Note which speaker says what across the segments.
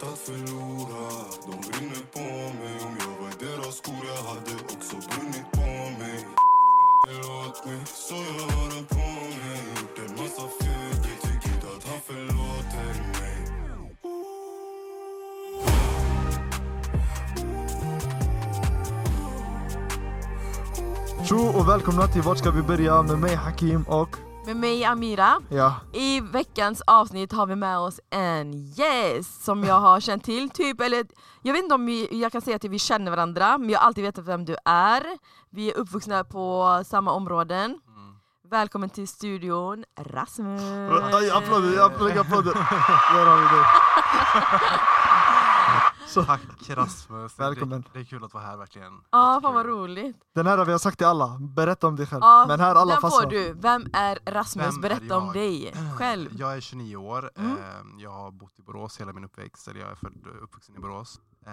Speaker 1: förlora De brinner på mig Om jag var i deras skor jag hade också brunnit på mig Ringer åt mig så jag har den på mig Gjort en massa fel, jag tycker inte att han förlåter mig
Speaker 2: Tjo och välkomna till Vart ska vi börja med mig Hakim och
Speaker 3: Med mig Amira.
Speaker 2: ja,
Speaker 3: I veckans avsnitt har vi med oss en gäst som jag har känt till, typ, eller jag vet inte om vi, jag kan säga att vi känner varandra, men jag har alltid vetat vem du är. Vi är uppvuxna på samma områden. Välkommen till studion, Rasmus!
Speaker 2: Aj, applåder, applåder, applåder. Där har vi det.
Speaker 4: Tack Rasmus. Det-
Speaker 2: Välkommen.
Speaker 4: Det, det är kul att vara här verkligen.
Speaker 3: Ja, fan vad roligt!
Speaker 2: Den här har vi har sagt till alla, berätta om dig själv.
Speaker 3: Ja,
Speaker 2: Men här alla
Speaker 3: den får
Speaker 2: fastnar.
Speaker 3: du! Vem är Rasmus?
Speaker 4: Vem är
Speaker 3: Berätta om
Speaker 4: jag?
Speaker 3: dig själv!
Speaker 4: Jag är 29 år.
Speaker 3: Mm.
Speaker 4: Eh, Jag har bott i Borås hela min uppväxt. Eller jag är född och uppvuxen i Borås. Eh,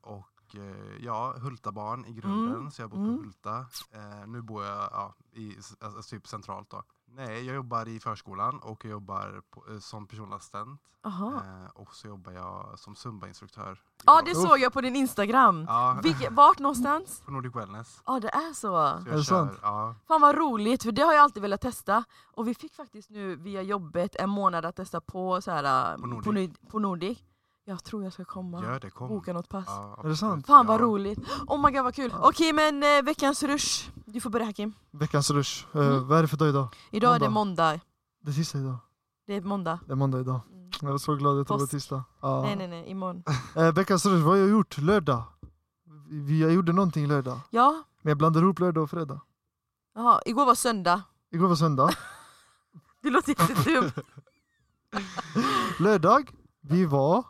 Speaker 4: Och eh, ja, Hultabarn i grunden.
Speaker 3: Mm.
Speaker 4: Så jag har bott
Speaker 3: Mm.
Speaker 4: på Hulta. Eh, Nu bor jag ja, i, alltså, typ centralt då. Nej, jag jobbar i förskolan och jag jobbar på, eh, som personlig assistent.
Speaker 3: Jaha.
Speaker 4: Eh, Och så jobbar jag som Zumba-instruktör. i
Speaker 3: Ja, det
Speaker 4: Borås.
Speaker 3: såg jag på din Instagram!
Speaker 4: Ja,
Speaker 3: Vilke, vart någonstans?
Speaker 4: på Nordic Wellness.
Speaker 3: Ja, det är så!
Speaker 4: Så
Speaker 2: Är det
Speaker 4: jag kör,
Speaker 2: sant?
Speaker 4: ja,
Speaker 3: Fan vad roligt, för det har jag alltid velat testa. Och vi fick faktiskt nu via jobbet en månad att testa på så här, eh,
Speaker 4: På Nordic.
Speaker 3: På, Ny- på Nordic. Jag tror jag ska komma.
Speaker 4: gör det, kom.
Speaker 3: Boka något pass.
Speaker 4: Ja,
Speaker 2: Är det sant?
Speaker 3: Fan vad
Speaker 4: Ja.
Speaker 3: roligt. Oh my god vad kul. Okej men eh, veckans rush. Du får börja Hakim.
Speaker 2: Veckans rush. Eh,
Speaker 3: Mm.
Speaker 2: Vad är det för dag idag?
Speaker 3: Idag är det
Speaker 2: Måndag.
Speaker 3: måndag.
Speaker 2: Det är tisdag idag.
Speaker 3: Det är måndag.
Speaker 2: Det är måndag idag.
Speaker 3: Mm.
Speaker 2: Jag var så glad att det var
Speaker 3: Påsk.
Speaker 2: tisdag. Ja.
Speaker 3: Nej nej nej, imorgon.
Speaker 2: Eh, veckans rush, vad har jag gjort lördag? Vi- Jag gjorde någonting lördag.
Speaker 3: Ja,
Speaker 2: Men jag blandar ihop lördag och fredag.
Speaker 3: jaha. Igår var söndag.
Speaker 2: Igår var söndag.
Speaker 3: Det låter jättedumt.
Speaker 2: Lördag, vi var...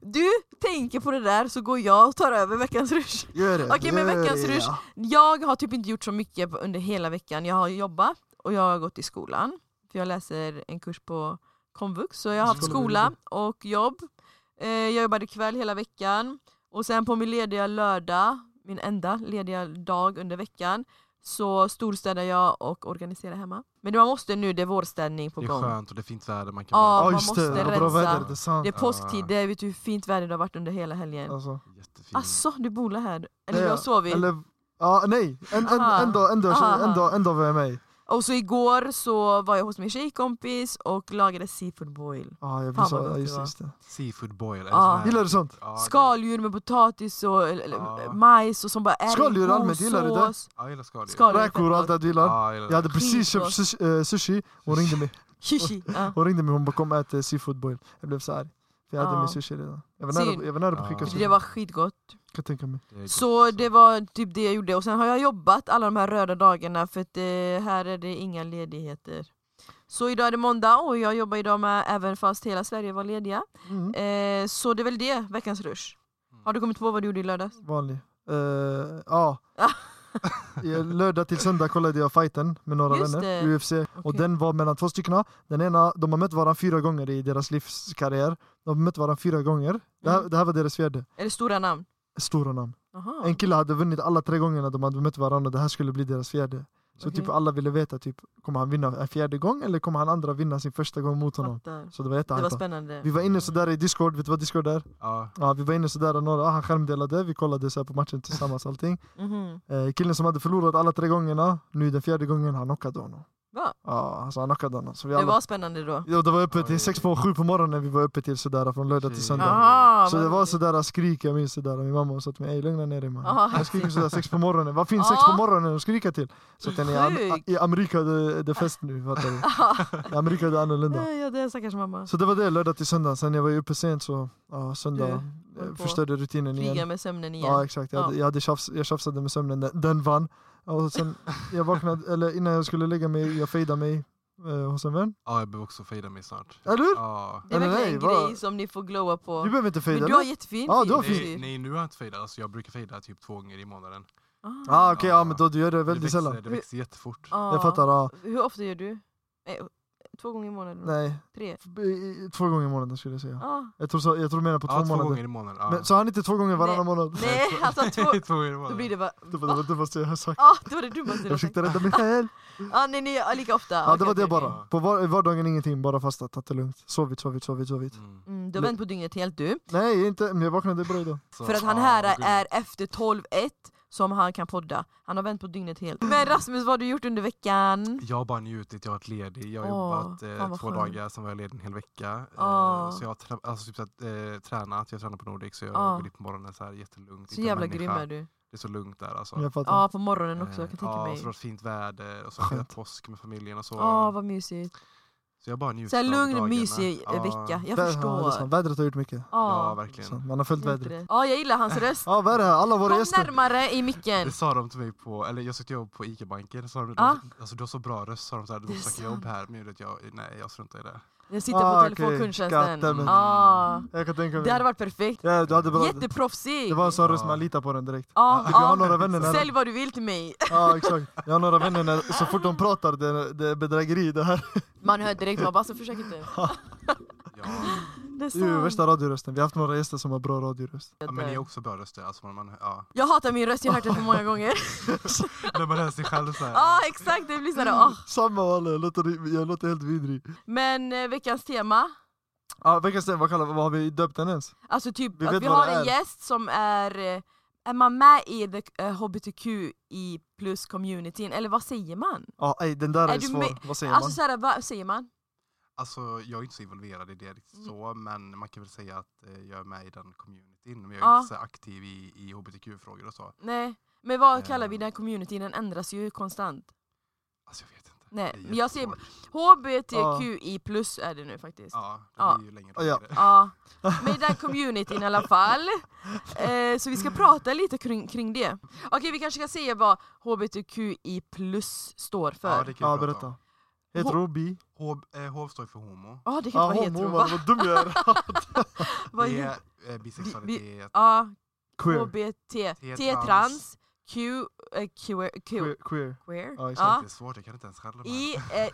Speaker 3: Du tänker på det där så går jag och tar över veckans rush.
Speaker 2: Gör det,
Speaker 3: Okej, men
Speaker 2: gör
Speaker 3: veckans
Speaker 2: det,
Speaker 3: rush.
Speaker 2: ja.
Speaker 3: Jag har typ inte gjort så mycket på- under hela veckan. Jag har jobbat och jag har gått i skolan. För jag läser en kurs på komvux. Så jag har haft
Speaker 2: Skola
Speaker 3: skola och jobb. Eh, Jag jobbade kväll hela veckan. Och sen på min lediga lördag, min enda lediga dag under veckan, så storstädar jag och organiserar hemma. Men man måste nu, det är vårstädning på
Speaker 4: Det är
Speaker 3: gång.
Speaker 4: skönt och det är fint väder. Man kan
Speaker 3: Ja,
Speaker 4: bara-
Speaker 2: Ja
Speaker 3: man
Speaker 2: just det, det
Speaker 3: måste
Speaker 2: var bra
Speaker 3: rensa.
Speaker 2: väder, det är sant.
Speaker 3: Det är
Speaker 4: Ah.
Speaker 3: påsktider, vet du hur fint väder det har varit under hela helgen?
Speaker 2: Alltså.
Speaker 4: Jättefin.
Speaker 3: Asså, du bor här? Eller
Speaker 2: Nej,
Speaker 3: jag sov i?
Speaker 2: Eller, ja, nej, en, en,
Speaker 3: Aha.
Speaker 2: ändå, ändå,
Speaker 3: Aha.
Speaker 2: ändå, ändå var jag med.
Speaker 3: Och så igår så var jag hos min tjejkompis och lagade seafood boil.
Speaker 2: Ja, Ah, jag
Speaker 3: Fan,
Speaker 2: visste,
Speaker 3: vad gott
Speaker 2: ja,
Speaker 3: det
Speaker 2: just,
Speaker 3: var.
Speaker 2: just det.
Speaker 4: Seafood boil.
Speaker 3: Ja.
Speaker 2: Gillar du sånt?
Speaker 4: Skal.
Speaker 3: Skaldjur med potatis och eller, eller
Speaker 4: Ja.
Speaker 3: majs och som bara är i
Speaker 2: Skaldjur allmänt,
Speaker 3: god
Speaker 2: gillar du det?
Speaker 3: sås.
Speaker 4: Ja, jag gillar skaldjur.
Speaker 3: Skaldjur är
Speaker 2: Räkor och allt
Speaker 3: fett
Speaker 2: det du gillar.
Speaker 4: Ja, jag gillar
Speaker 2: Jag hade precis
Speaker 3: Skitgott.
Speaker 2: köpt sushi, eh, sushi hon ringde mig,
Speaker 3: gott. Shishi, ja.
Speaker 2: hon ringde mig hon bara kom och ät eh, seafood boil. Jag blev så arg. För jag hade
Speaker 3: Ja.
Speaker 2: min sushi redan. Jag var
Speaker 3: Synd.
Speaker 2: nära, jag var nära på att
Speaker 4: Ja.
Speaker 2: skicka
Speaker 4: Det
Speaker 2: sushi.
Speaker 3: Det var skitgott.
Speaker 2: Kan jag tänka mig.
Speaker 4: det. Det är gott
Speaker 3: Så
Speaker 4: också.
Speaker 3: det var typ det jag gjorde. Och sen har jag jobbat alla de här röda dagarna för att eh, här är det inga ledigheter. Så idag är det måndag och jag jobbar idag med även fast hela Sverige var lediga.
Speaker 2: Mm,
Speaker 3: Eh, så det är väl det, veckans rush. Har du kommit på vad du gjorde i lördags?
Speaker 2: vanlig. Eh, ja.
Speaker 3: Ja.
Speaker 2: I Lördag till söndag kollade jag fighten med några
Speaker 3: Just
Speaker 2: vänner,
Speaker 3: det.
Speaker 2: UFC. Och
Speaker 3: Okej.
Speaker 2: den var mellan två stycken. Den ena, de har mött varandra fyra gånger i deras livskarriär. De har mött varandra fyra gånger. Det här,
Speaker 3: Mm.
Speaker 2: det här var deras fjärde.
Speaker 3: Är det stora namn?
Speaker 2: Stora namn.
Speaker 3: Aha.
Speaker 2: En kille hade vunnit alla tre gångerna de hade mött varandra och det här skulle bli deras fjärde. Så
Speaker 3: Okej.
Speaker 2: typ alla ville veta, typ, kommer han vinna en fjärde gång eller kommer han andra vinna sin första gång mot honom?
Speaker 3: Fattar.
Speaker 2: Så det var
Speaker 3: Det var
Speaker 2: jättehypat.
Speaker 3: spännande.
Speaker 2: Alltså, Vi var inne sådär i Discord, vet du vad Discord är?
Speaker 4: Ja,
Speaker 2: Ja, vi var inne sådär och några, ah, han skärmdelade, vi kollade så här på matchen tillsammans allting.
Speaker 3: Mhm.
Speaker 2: Eh, killen som hade förlorat alla tre gångerna, nu den fjärde gången, han knockade honom.
Speaker 3: Va?
Speaker 2: Ja, alltså han knockade honom. Så vi
Speaker 3: Det
Speaker 2: alla
Speaker 3: var spännande då.
Speaker 2: Ja, det var öppet till
Speaker 4: Oj.
Speaker 2: sex på sju på morgonen vi var uppe till sådär från lördag till
Speaker 4: Shit.
Speaker 2: söndag.
Speaker 3: Aha,
Speaker 2: Så
Speaker 3: vad
Speaker 2: det var
Speaker 3: roligt.
Speaker 2: sådär skrik jag minns sådär, min mamma sa till mig "Ey, lugna ner dig
Speaker 3: Aha.
Speaker 2: man. Jag skriker sådär sex på morgonen, vad finns sex
Speaker 3: Ja.
Speaker 2: på morgonen att skrika till? Så att den i, Am-
Speaker 3: Sjukt.
Speaker 2: i Amerika det, det är fest nu fattar du. I Amerika det är annorlunda.
Speaker 3: Nej, Ja, det är stackars mamma.
Speaker 2: Så det var det lördag till söndag, sen jag var ju uppe sent så ja, söndag
Speaker 3: Du, håll
Speaker 2: eh,
Speaker 3: på.
Speaker 2: förstörde rutinen
Speaker 3: Kriga
Speaker 2: igen.
Speaker 3: med sömnen igen.
Speaker 2: Ja exakt, jag, hade,
Speaker 3: Ja.
Speaker 2: jag, hade tjafs, jag tjafsade med sömnen, den, den vann. Och sen jag vaknade, eller innan jag skulle lägga mig, jag fejdade mig eh, hos en vän.
Speaker 4: ja jag behöver också fejda mig snart.
Speaker 2: Eller hur?
Speaker 4: Ja.
Speaker 3: det är
Speaker 2: eller
Speaker 3: verkligen
Speaker 2: nej,
Speaker 3: en
Speaker 2: vad-
Speaker 3: grej som ni får glowa på.
Speaker 2: Du behöver inte
Speaker 3: Men
Speaker 2: fejda
Speaker 3: du
Speaker 2: eller?
Speaker 3: har jättefin
Speaker 2: Ja, du har
Speaker 3: frisyr.
Speaker 4: Nej, nej, nu har jag inte fejdat. Alltså, jag brukar fejda typ två gånger i månaden.
Speaker 3: Ah.
Speaker 2: Ah, okej, ja.
Speaker 4: Ja.
Speaker 2: men då du gör det väldigt
Speaker 4: det växer,
Speaker 2: sällan.
Speaker 4: Det växer jättefort.
Speaker 3: Ah.
Speaker 2: Jag fattar, ja.
Speaker 3: Hur ofta gör du? Eh, två gånger i månaden?
Speaker 2: Nej,
Speaker 3: Tre? Ah,
Speaker 2: f- i- i- två gånger i månaden skulle jag säga.
Speaker 3: Ja.
Speaker 2: Jag tror, så, jag tror du menar på
Speaker 4: Ja,
Speaker 2: två
Speaker 4: två gånger
Speaker 2: månader.
Speaker 4: i månaden. Ja.
Speaker 2: Men, så han inte två gånger varannan månad?
Speaker 3: Nej, alltså två...
Speaker 4: två gånger i
Speaker 3: Då blir
Speaker 4: månaden.
Speaker 3: det bara...
Speaker 2: Det var det,
Speaker 3: Va?
Speaker 2: var det måste jag ha sagt.
Speaker 3: Ja, det var det
Speaker 2: Jag
Speaker 3: dummaste jag sagt.
Speaker 2: försökte rädda mig själv.
Speaker 3: Ja, nej, nej, ja, lika ofta.
Speaker 2: Ja, det
Speaker 3: Okej,
Speaker 2: var det
Speaker 3: okej.
Speaker 2: bara. På var, vardagen ingenting, bara fastat, tagit det lugnt. Sovit, sovit, sovit, sovit.
Speaker 4: Mm.
Speaker 3: Mm, du har vänt på dygnet helt du.
Speaker 2: Nej, inte, men jag vaknade bra idag.
Speaker 4: Så,
Speaker 3: För att han
Speaker 4: ja,
Speaker 3: här
Speaker 4: vad gulligt.
Speaker 3: är efter 12-1 som han kan podda. Han har vänt på dygnet helt. Men Rasmus, vad har du gjort under veckan?
Speaker 4: Jag har bara njutit, jag har varit ledig. Jag har
Speaker 3: Åh,
Speaker 4: jobbat
Speaker 3: fan
Speaker 4: eh,
Speaker 3: vad
Speaker 4: två
Speaker 3: skönt. Ah.
Speaker 4: dagar, sen var jag ledig en hel vecka. Eh,
Speaker 3: Åh.
Speaker 4: så jag har tra- alltså, typ, så att, eh, tränat, jag tränar på Nordic så jag
Speaker 3: Åh.
Speaker 4: går dit på morgonen så här
Speaker 3: Ah.
Speaker 4: jättelugnt.
Speaker 3: Så
Speaker 4: inte en
Speaker 3: jävla
Speaker 4: människa.
Speaker 3: grym är du.
Speaker 4: Det är så lugnt där alltså.
Speaker 2: Jag fattar.
Speaker 3: Ja, på morgonen också. Jag kan
Speaker 4: Eh,
Speaker 3: tänka
Speaker 4: ja,
Speaker 3: mig.
Speaker 4: så det var fint väder och så hade jag
Speaker 2: Skönt.
Speaker 4: påsk med familjen och så.
Speaker 3: Ja, vad mysigt.
Speaker 4: så jag bara njuter
Speaker 3: Så här
Speaker 4: av
Speaker 3: lugn,
Speaker 4: dagarna.
Speaker 3: mysig eh,
Speaker 4: Ja,
Speaker 3: vecka. Ah. Jag
Speaker 2: Vä-
Speaker 3: förstår.
Speaker 2: Ja, det är sant. Vädret har gjort mycket.
Speaker 4: Ja,
Speaker 3: Ja,
Speaker 2: Så,
Speaker 4: verkligen.
Speaker 2: man har följt
Speaker 3: jag
Speaker 2: vädret.
Speaker 3: inte det. ja, jag gillar hans röst.
Speaker 2: Ja, vad är det här? Alla våra
Speaker 3: Kom
Speaker 2: gäster.
Speaker 3: närmare i micken.
Speaker 4: Det sa de till mig på, eller jag sökte jobb på ICA-banken, sa de,
Speaker 3: Ah.
Speaker 4: alltså du har så bra röst, sa de såhär, du
Speaker 3: Det är
Speaker 4: måste söka jobb
Speaker 3: sant.
Speaker 4: här, men jag, vet, jag, nej jag struntar i det.
Speaker 3: Jag sitter på
Speaker 2: Ah, okej.
Speaker 3: telefonkundtjänsten.
Speaker 2: Skattemen.
Speaker 3: Ah,
Speaker 2: Jag kan tänka
Speaker 3: det
Speaker 2: mig.
Speaker 3: hade varit perfekt.
Speaker 2: Ja, du hade bra.
Speaker 3: Jätteproffsig!
Speaker 2: Det var en sån röst
Speaker 4: Ja.
Speaker 2: man litar på den direkt.
Speaker 3: Ja,
Speaker 2: Jag har
Speaker 3: ja.
Speaker 2: några vänner
Speaker 3: Sälj
Speaker 2: när,
Speaker 3: vad du vill till mig.
Speaker 2: ja, exakt. Jag har några vänner när, så fort de pratar, det, det är bedrägeri det här.
Speaker 3: Man hör direkt, man bara så försök inte ens.
Speaker 4: Ja.
Speaker 3: Det är
Speaker 2: Det är ju
Speaker 3: sant.
Speaker 2: värsta radiorösten. Vi har haft några gäster som har bra radioröst.
Speaker 4: Ja, Men ni är också bra röster, alltså man, man, ja.
Speaker 3: Jag hatar min röst, jag har hört den för många gånger.
Speaker 4: när man hör sig själv såhär.
Speaker 3: Ja exakt, det blir sådär
Speaker 2: Mm.
Speaker 3: ah.
Speaker 2: Samma walla, jag låter, jag låter helt vidrig.
Speaker 3: Men eh, veckans tema,
Speaker 2: Ja, veckans tema, vad, kallar, vad har vi döpt den ens?
Speaker 3: alltså typ
Speaker 2: Vi
Speaker 3: att
Speaker 2: vet
Speaker 3: vi
Speaker 2: vad
Speaker 3: har
Speaker 2: det
Speaker 3: en
Speaker 2: är.
Speaker 3: gäst som är eh, är man med i the, eh, hbtqi plus communityn, eller vad säger man?
Speaker 2: Ja, ej, den där är,
Speaker 3: Är du
Speaker 2: svår.
Speaker 3: med-
Speaker 2: Vad säger
Speaker 3: Alltså
Speaker 2: man?
Speaker 3: såhär, vad säger man?
Speaker 4: Alltså jag är inte så involverad i det riktigt
Speaker 3: Mm.
Speaker 4: så, men man kan väl säga att eh, jag är med i den communityn, men jag är
Speaker 3: Ja.
Speaker 4: inte så aktiv i, i hbtq-frågor och så.
Speaker 3: Nej, men vad kallar
Speaker 4: Eh.
Speaker 3: vi den här communityn? Den ändras ju konstant.
Speaker 4: Alltså jag vet inte.
Speaker 3: Nej,
Speaker 4: Det är
Speaker 3: Eh, men jag ser-
Speaker 4: jättesvårt.
Speaker 3: HBTQI plus är det nu faktiskt.
Speaker 4: Ja, det
Speaker 3: Ja.
Speaker 4: blir ju längre
Speaker 2: Ah, Ja.
Speaker 4: och längre.
Speaker 3: Ja, med den communityn i alla fall. Eh, så vi ska prata lite kring, kring det. Okej, vi kanske ska säga vad HBTQI plus står för.
Speaker 4: Ja, det kan
Speaker 2: Ja,
Speaker 4: vi prata om.
Speaker 2: berätta. Hetero, bi?
Speaker 4: Hov- eh, hov står ju för homo.
Speaker 3: Ja, det kan
Speaker 2: Ja,
Speaker 3: inte vara
Speaker 2: homo,
Speaker 3: hetero.
Speaker 2: vad,
Speaker 3: Va?
Speaker 2: vad dum jag är.
Speaker 3: Vad
Speaker 4: det
Speaker 3: he-
Speaker 4: är eh, bisexualitet.
Speaker 3: Ja,
Speaker 2: Queer.
Speaker 3: HBT,
Speaker 4: T-trans.
Speaker 3: T-trans, Q, eh, queer, Q,
Speaker 2: Queer. queer.
Speaker 3: queer.
Speaker 2: Ja,
Speaker 4: Det är
Speaker 2: exakt.
Speaker 3: Ja.
Speaker 4: inte svårt, jag kan inte ens själv de här.
Speaker 3: I eh, är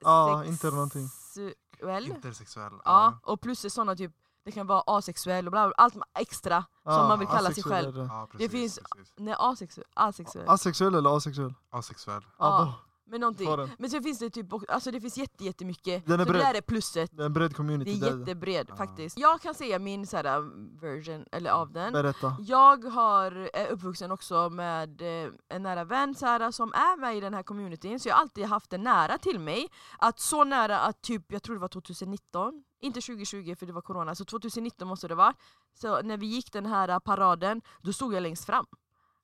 Speaker 2: Ja, inte någonting.
Speaker 3: intersexuell.
Speaker 4: Intersexuell.
Speaker 3: Ja, och plus är sådana typ, det kan vara asexuell och bla bla, allt extra.
Speaker 2: Ja,
Speaker 3: man vill kalla sig
Speaker 2: Ah, asexuell
Speaker 3: själv.
Speaker 2: är det.
Speaker 4: ja precis,
Speaker 3: finns-
Speaker 4: precis.
Speaker 3: Nej, asexuell. asexuell.
Speaker 2: Asexuell eller asexuell?
Speaker 4: Asexuell.
Speaker 3: Ja,
Speaker 2: Ja.
Speaker 3: Men någonting.
Speaker 2: Får den.
Speaker 3: Men sen finns det typ också- alltså det finns jätte, jättemycket.
Speaker 2: Den är
Speaker 3: så det
Speaker 2: bred.
Speaker 3: där är plusset.
Speaker 2: Det är en bred
Speaker 3: Det
Speaker 2: community.
Speaker 3: är
Speaker 2: där.
Speaker 3: jättebred
Speaker 4: Ja.
Speaker 3: faktiskt. Jag kan säga min så här, um, version eller av den.
Speaker 2: Berätta.
Speaker 3: Jag har, är uppvuxen också med eh, en nära vän så här, som är med i den här communityn, så jag har alltid haft den nära till mig. Att så nära att typ, jag tror det var 2019, inte 2020 för det var corona, så 2019 måste det vara. Så när vi gick den här eh, paraden, då stod jag längst fram.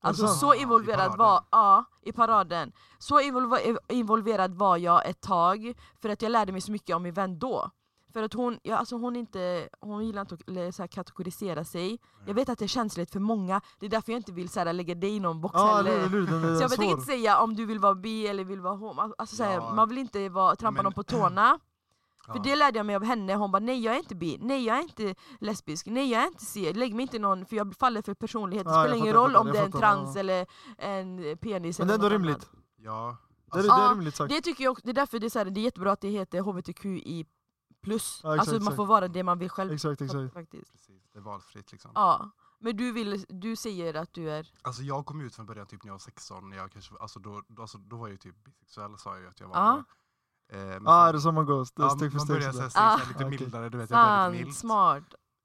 Speaker 2: det
Speaker 3: Alltså
Speaker 2: sant?
Speaker 3: så
Speaker 4: I
Speaker 3: involverad
Speaker 4: paraden?
Speaker 3: var ja, i paraden. Så involva- eh, involverad var jag ett tag, för att jag lärde mig så mycket om min vän då. För att hon, ja, alltså hon, inte, hon gillar inte att eller så här, kategorisera sig. Jag vet att det är känsligt för många, det är därför jag inte vill så här, lägga dig i någon box
Speaker 2: Ja, eller
Speaker 3: heller.
Speaker 2: hur? eller hur? Den är
Speaker 3: Så jag tänker
Speaker 2: svår.
Speaker 3: inte säga om du vill vara bi eller vill vara homo, alltså, så här,
Speaker 4: Ja.
Speaker 3: man vill inte vara, trampa
Speaker 4: Men-
Speaker 3: någon på tårna. För
Speaker 4: Ja.
Speaker 3: det lärde jag mig av henne, hon bara nej jag är inte bi, nej jag är inte lesbisk, nej jag är inte si, lägg mig inte i någon för jag faller för personlighet, det
Speaker 2: Ja, jag
Speaker 3: spelar ingen
Speaker 2: fattar, jag
Speaker 3: roll
Speaker 2: fattar,
Speaker 3: om
Speaker 2: jag
Speaker 3: det är en
Speaker 2: fattar,
Speaker 3: trans
Speaker 2: ja.
Speaker 3: eller en penis
Speaker 2: Men det
Speaker 3: eller
Speaker 2: är ändå
Speaker 3: något annat.
Speaker 2: rimligt.
Speaker 4: Ja.
Speaker 2: Det är,
Speaker 4: Alltså,
Speaker 2: det är
Speaker 3: Ja,
Speaker 2: rimligt sagt.
Speaker 3: Det tycker jag också, det är därför det är, så här, det är jättebra att det heter hbtqi+. Plus.
Speaker 2: Ja, exakt,
Speaker 3: alltså man
Speaker 2: exakt.
Speaker 3: får vara det man vill själv.
Speaker 2: Exakt, exakt.
Speaker 3: Faktiskt.
Speaker 4: precis, det är valfritt liksom.
Speaker 3: Ja. Men du, vill, du säger att du är...
Speaker 4: Alltså jag kom ut från början typ när jag var 16, jag kanske, alltså, då, då, alltså, då var jag ju typ bisexuell sa jag ju att jag var.
Speaker 3: Ja.
Speaker 4: Eh, men
Speaker 2: Ja, ah,
Speaker 4: sen-
Speaker 2: är det så man går? St-
Speaker 4: ja,
Speaker 2: steg för
Speaker 4: man
Speaker 2: steg.
Speaker 4: började
Speaker 2: sådär.
Speaker 4: såhär,
Speaker 3: Ah.
Speaker 4: ah, lite
Speaker 2: Okej.
Speaker 4: mildare, du vet jag började lite
Speaker 3: Sant,
Speaker 4: milt.
Speaker 3: smart.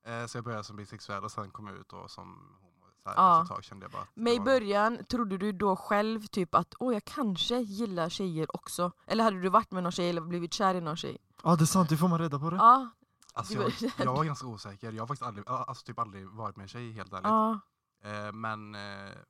Speaker 4: Eh, så jag började som bisexuell och sen kom jag ut då som homo. Så här,
Speaker 3: Ja.
Speaker 4: Efter ett tag kände jag bara att det
Speaker 3: Men i
Speaker 4: var-
Speaker 3: början, trodde du då själv typ att åh jag kanske gillar tjejer också? Eller hade du varit med någon tjej eller blivit kär i någon tjej?
Speaker 2: Ja, det är sant. Hur får man reda på det?
Speaker 3: Ja,
Speaker 4: Alltså,
Speaker 3: du
Speaker 4: jag,
Speaker 3: började-
Speaker 4: jag var ganska osäker, jag har faktiskt aldrig, alltså, typ aldrig varit med en tjej helt ärligt.
Speaker 3: ja,
Speaker 4: Eh, men, eh,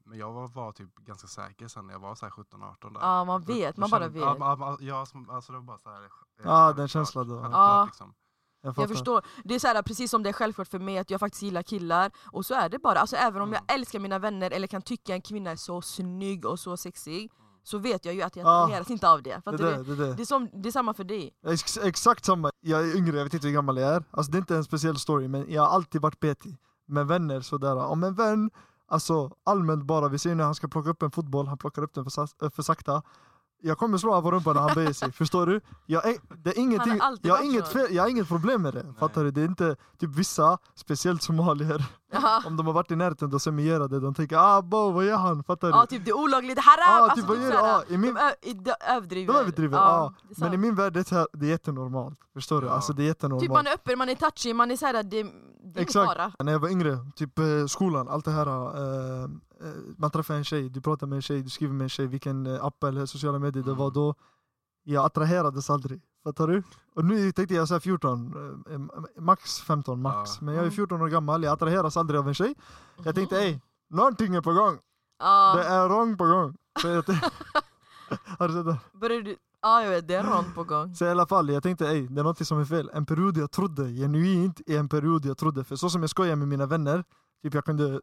Speaker 4: men jag var, var typ ganska säker sen när jag var 17-18 där.
Speaker 3: ja, man
Speaker 4: Då-
Speaker 3: vet,
Speaker 4: då
Speaker 3: man bara
Speaker 4: kände- ja,
Speaker 3: vet.
Speaker 4: men, ja, ja, som- alltså det var bara så här. eh,
Speaker 2: Ja, den
Speaker 4: självklart,
Speaker 2: känslan då.
Speaker 4: självklart,
Speaker 3: Ja.
Speaker 4: liksom.
Speaker 2: Jag fattar.
Speaker 3: Jag förstår, det är så här, precis som det är självklart för mig att jag faktiskt gillar killar, och så är det bara. Alltså även om
Speaker 4: Mm.
Speaker 3: jag älskar mina vänner eller kan tycka en kvinna är så snygg och så sexig, så vet jag ju att jag
Speaker 2: Ja.
Speaker 3: attraheras inte av det. För
Speaker 2: Ah. Det,
Speaker 3: att det,
Speaker 2: där, det, där.
Speaker 3: det, är som, det är samma för dig.
Speaker 2: Ex exakt samma. Jag är yngre, jag vet inte hur gammal jag är. Alltså det är inte en speciell story, men jag har alltid varit petig. Med vänner sådär. Om en vän, alltså allmänt bara, vi ser ju när han ska plocka upp en fotboll, han plockar upp den för, sa- äh, för sakta. Jag kommer slå honom på rumpan när han böjer sig, förstår du? Jag, är- det är ingenting,
Speaker 3: alltid
Speaker 2: jag, har
Speaker 3: varit
Speaker 2: inget
Speaker 3: så.
Speaker 2: fel, jag har inget problem med det, fattar du? Det är inte typ vissa, speciellt somalier,
Speaker 3: Ja,
Speaker 2: om de har varit i närheten och semierar det, de tänker ah bo, vad gör han? Fattar du?
Speaker 3: ja typ det är olagligt, haram!
Speaker 2: Ja,
Speaker 3: alltså,
Speaker 2: typ, vad gör du?
Speaker 3: såhär,
Speaker 2: Ja, i min-
Speaker 3: de, ö- i- de överdriver.
Speaker 2: de överdriver, ja.
Speaker 3: det är sant.
Speaker 2: Men i min värld det är, så här, det är jättenormalt, förstår du?
Speaker 4: Ja.
Speaker 2: Alltså det är jättenormalt.
Speaker 3: Typ man är öppen, man är touchy, man är såhär, det, det är ingen
Speaker 2: Exakt.
Speaker 3: fara.
Speaker 2: När jag var yngre, typ eh, skolan, allt det här. eh, eh, man träffar en tjej, du pratar med en tjej, du skriver med en tjej, vilken eh, app eller sociala medier det var då. Jag attraherades aldrig. Fattar du? Och nu tänkte jag såhär 14, eh, eh, max 15 max.
Speaker 4: Ja.
Speaker 2: Men jag är 14 år gammal, jag attraheras aldrig av en tjej. Jag tänkte ey, någonting är på gång. Det
Speaker 3: Ja,
Speaker 2: är wrong på gång. Så jag tänkte- Har du sett det?
Speaker 3: börjar du... Ja, jag vet, det är rån på gång.
Speaker 2: Så i alla fall, jag tänkte ey, det är något som är fel. En period jag trodde, genuint i en period jag trodde. För så som jag skojar med mina vänner, typ jag kunde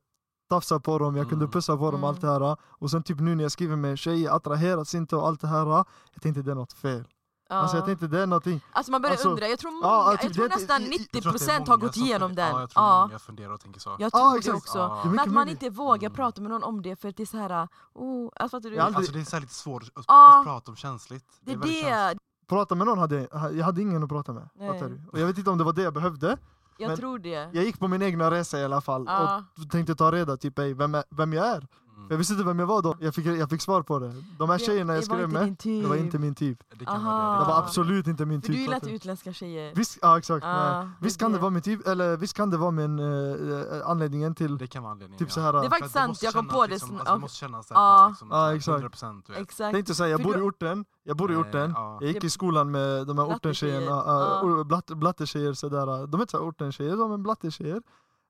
Speaker 2: tafsa på dem, jag kunde
Speaker 4: Mm.
Speaker 2: pussa på dem,
Speaker 3: Mm.
Speaker 2: allt det här. Och sen typ nu när jag skriver med tjejer, attraheras inte och allt det här. Jag tänkte det är något fel.
Speaker 3: Ja.
Speaker 2: Alltså jag tänkte det är någonting.
Speaker 3: Alltså man börjar
Speaker 2: Alltså,
Speaker 3: undra, jag tror, många,
Speaker 2: ja, typ
Speaker 3: jag tror
Speaker 2: det-
Speaker 3: nästan
Speaker 2: jag- jag tror att
Speaker 4: Jag tror att det är
Speaker 3: 90% har
Speaker 4: många
Speaker 3: gått
Speaker 4: som
Speaker 3: igenom
Speaker 4: funderar-
Speaker 3: den.
Speaker 4: Ja,
Speaker 3: Ja,
Speaker 4: jag tror många funderar och tänker så.
Speaker 3: jag
Speaker 2: Ja,
Speaker 3: tror det
Speaker 2: exakt.
Speaker 3: också.
Speaker 4: Ja.
Speaker 3: Men
Speaker 2: Mycket
Speaker 3: att man
Speaker 2: möjligt.
Speaker 3: inte vågar
Speaker 4: Mm.
Speaker 3: prata med någon om det för att det är så här, oh, alltså, fattar du?
Speaker 2: Jag har aldrig-
Speaker 4: Alltså det är så här lite svårt att, att
Speaker 3: Ja.
Speaker 4: prata om känsligt.
Speaker 3: det är
Speaker 4: väldigt känsligt.
Speaker 3: det,
Speaker 2: Prata med någon hade jag, jag hade ingen att prata med.
Speaker 3: Nej.
Speaker 2: Fattar du? Och jag vet inte om det var det jag behövde.
Speaker 3: jag
Speaker 2: Men-
Speaker 3: tror det.
Speaker 2: Jag gick på min egna resa i alla fall.
Speaker 3: Ja.
Speaker 2: Och tänkte ta reda typ ey, vem, är, vem jag är.
Speaker 4: Mm,
Speaker 2: För Jag visste inte vem jag var då. Jag fick, jag fick svar på det. De här tjejerna jag
Speaker 3: det var
Speaker 2: skrev
Speaker 3: inte
Speaker 2: med,
Speaker 3: din typ.
Speaker 2: det var inte min typ.
Speaker 4: Det kan
Speaker 3: Aha.
Speaker 4: vara det.
Speaker 2: Det
Speaker 4: kan
Speaker 2: var
Speaker 4: vara det.
Speaker 2: absolut inte min
Speaker 3: För du
Speaker 2: typ.
Speaker 3: gillar
Speaker 2: fattar
Speaker 3: inte utländska tjejer.
Speaker 2: Visst, ja, exakt,
Speaker 3: Ah,
Speaker 2: nej. visst kan det vara min typ, eller visst kan det vara min eh, eh, anledningen till
Speaker 4: Det kan vara anledningen.
Speaker 2: typ så
Speaker 4: ja.
Speaker 2: här.
Speaker 3: Det
Speaker 2: Det
Speaker 3: var-
Speaker 4: För att
Speaker 3: Faktiskt sant,
Speaker 4: måste
Speaker 3: jag kom
Speaker 4: kännas
Speaker 3: på det
Speaker 4: Liksom,
Speaker 3: sn-
Speaker 4: alltså,
Speaker 3: ja.
Speaker 4: det måste kännas
Speaker 3: Ja.
Speaker 4: ah. liksom,
Speaker 2: Ja, exakt.
Speaker 4: 100% du vet.
Speaker 3: Exakt.
Speaker 2: är inte säga jag
Speaker 3: För
Speaker 2: bor i
Speaker 3: du-
Speaker 2: orten, jag bor i
Speaker 4: Eh,
Speaker 2: orten,
Speaker 4: ja.
Speaker 2: jag gick i skolan med de här
Speaker 3: Blattetjejer,
Speaker 2: ortentjejerna,
Speaker 3: ja.
Speaker 2: uh, blattetjejer sådär, de är inte såhär ortentjejer, de är blattetjejer,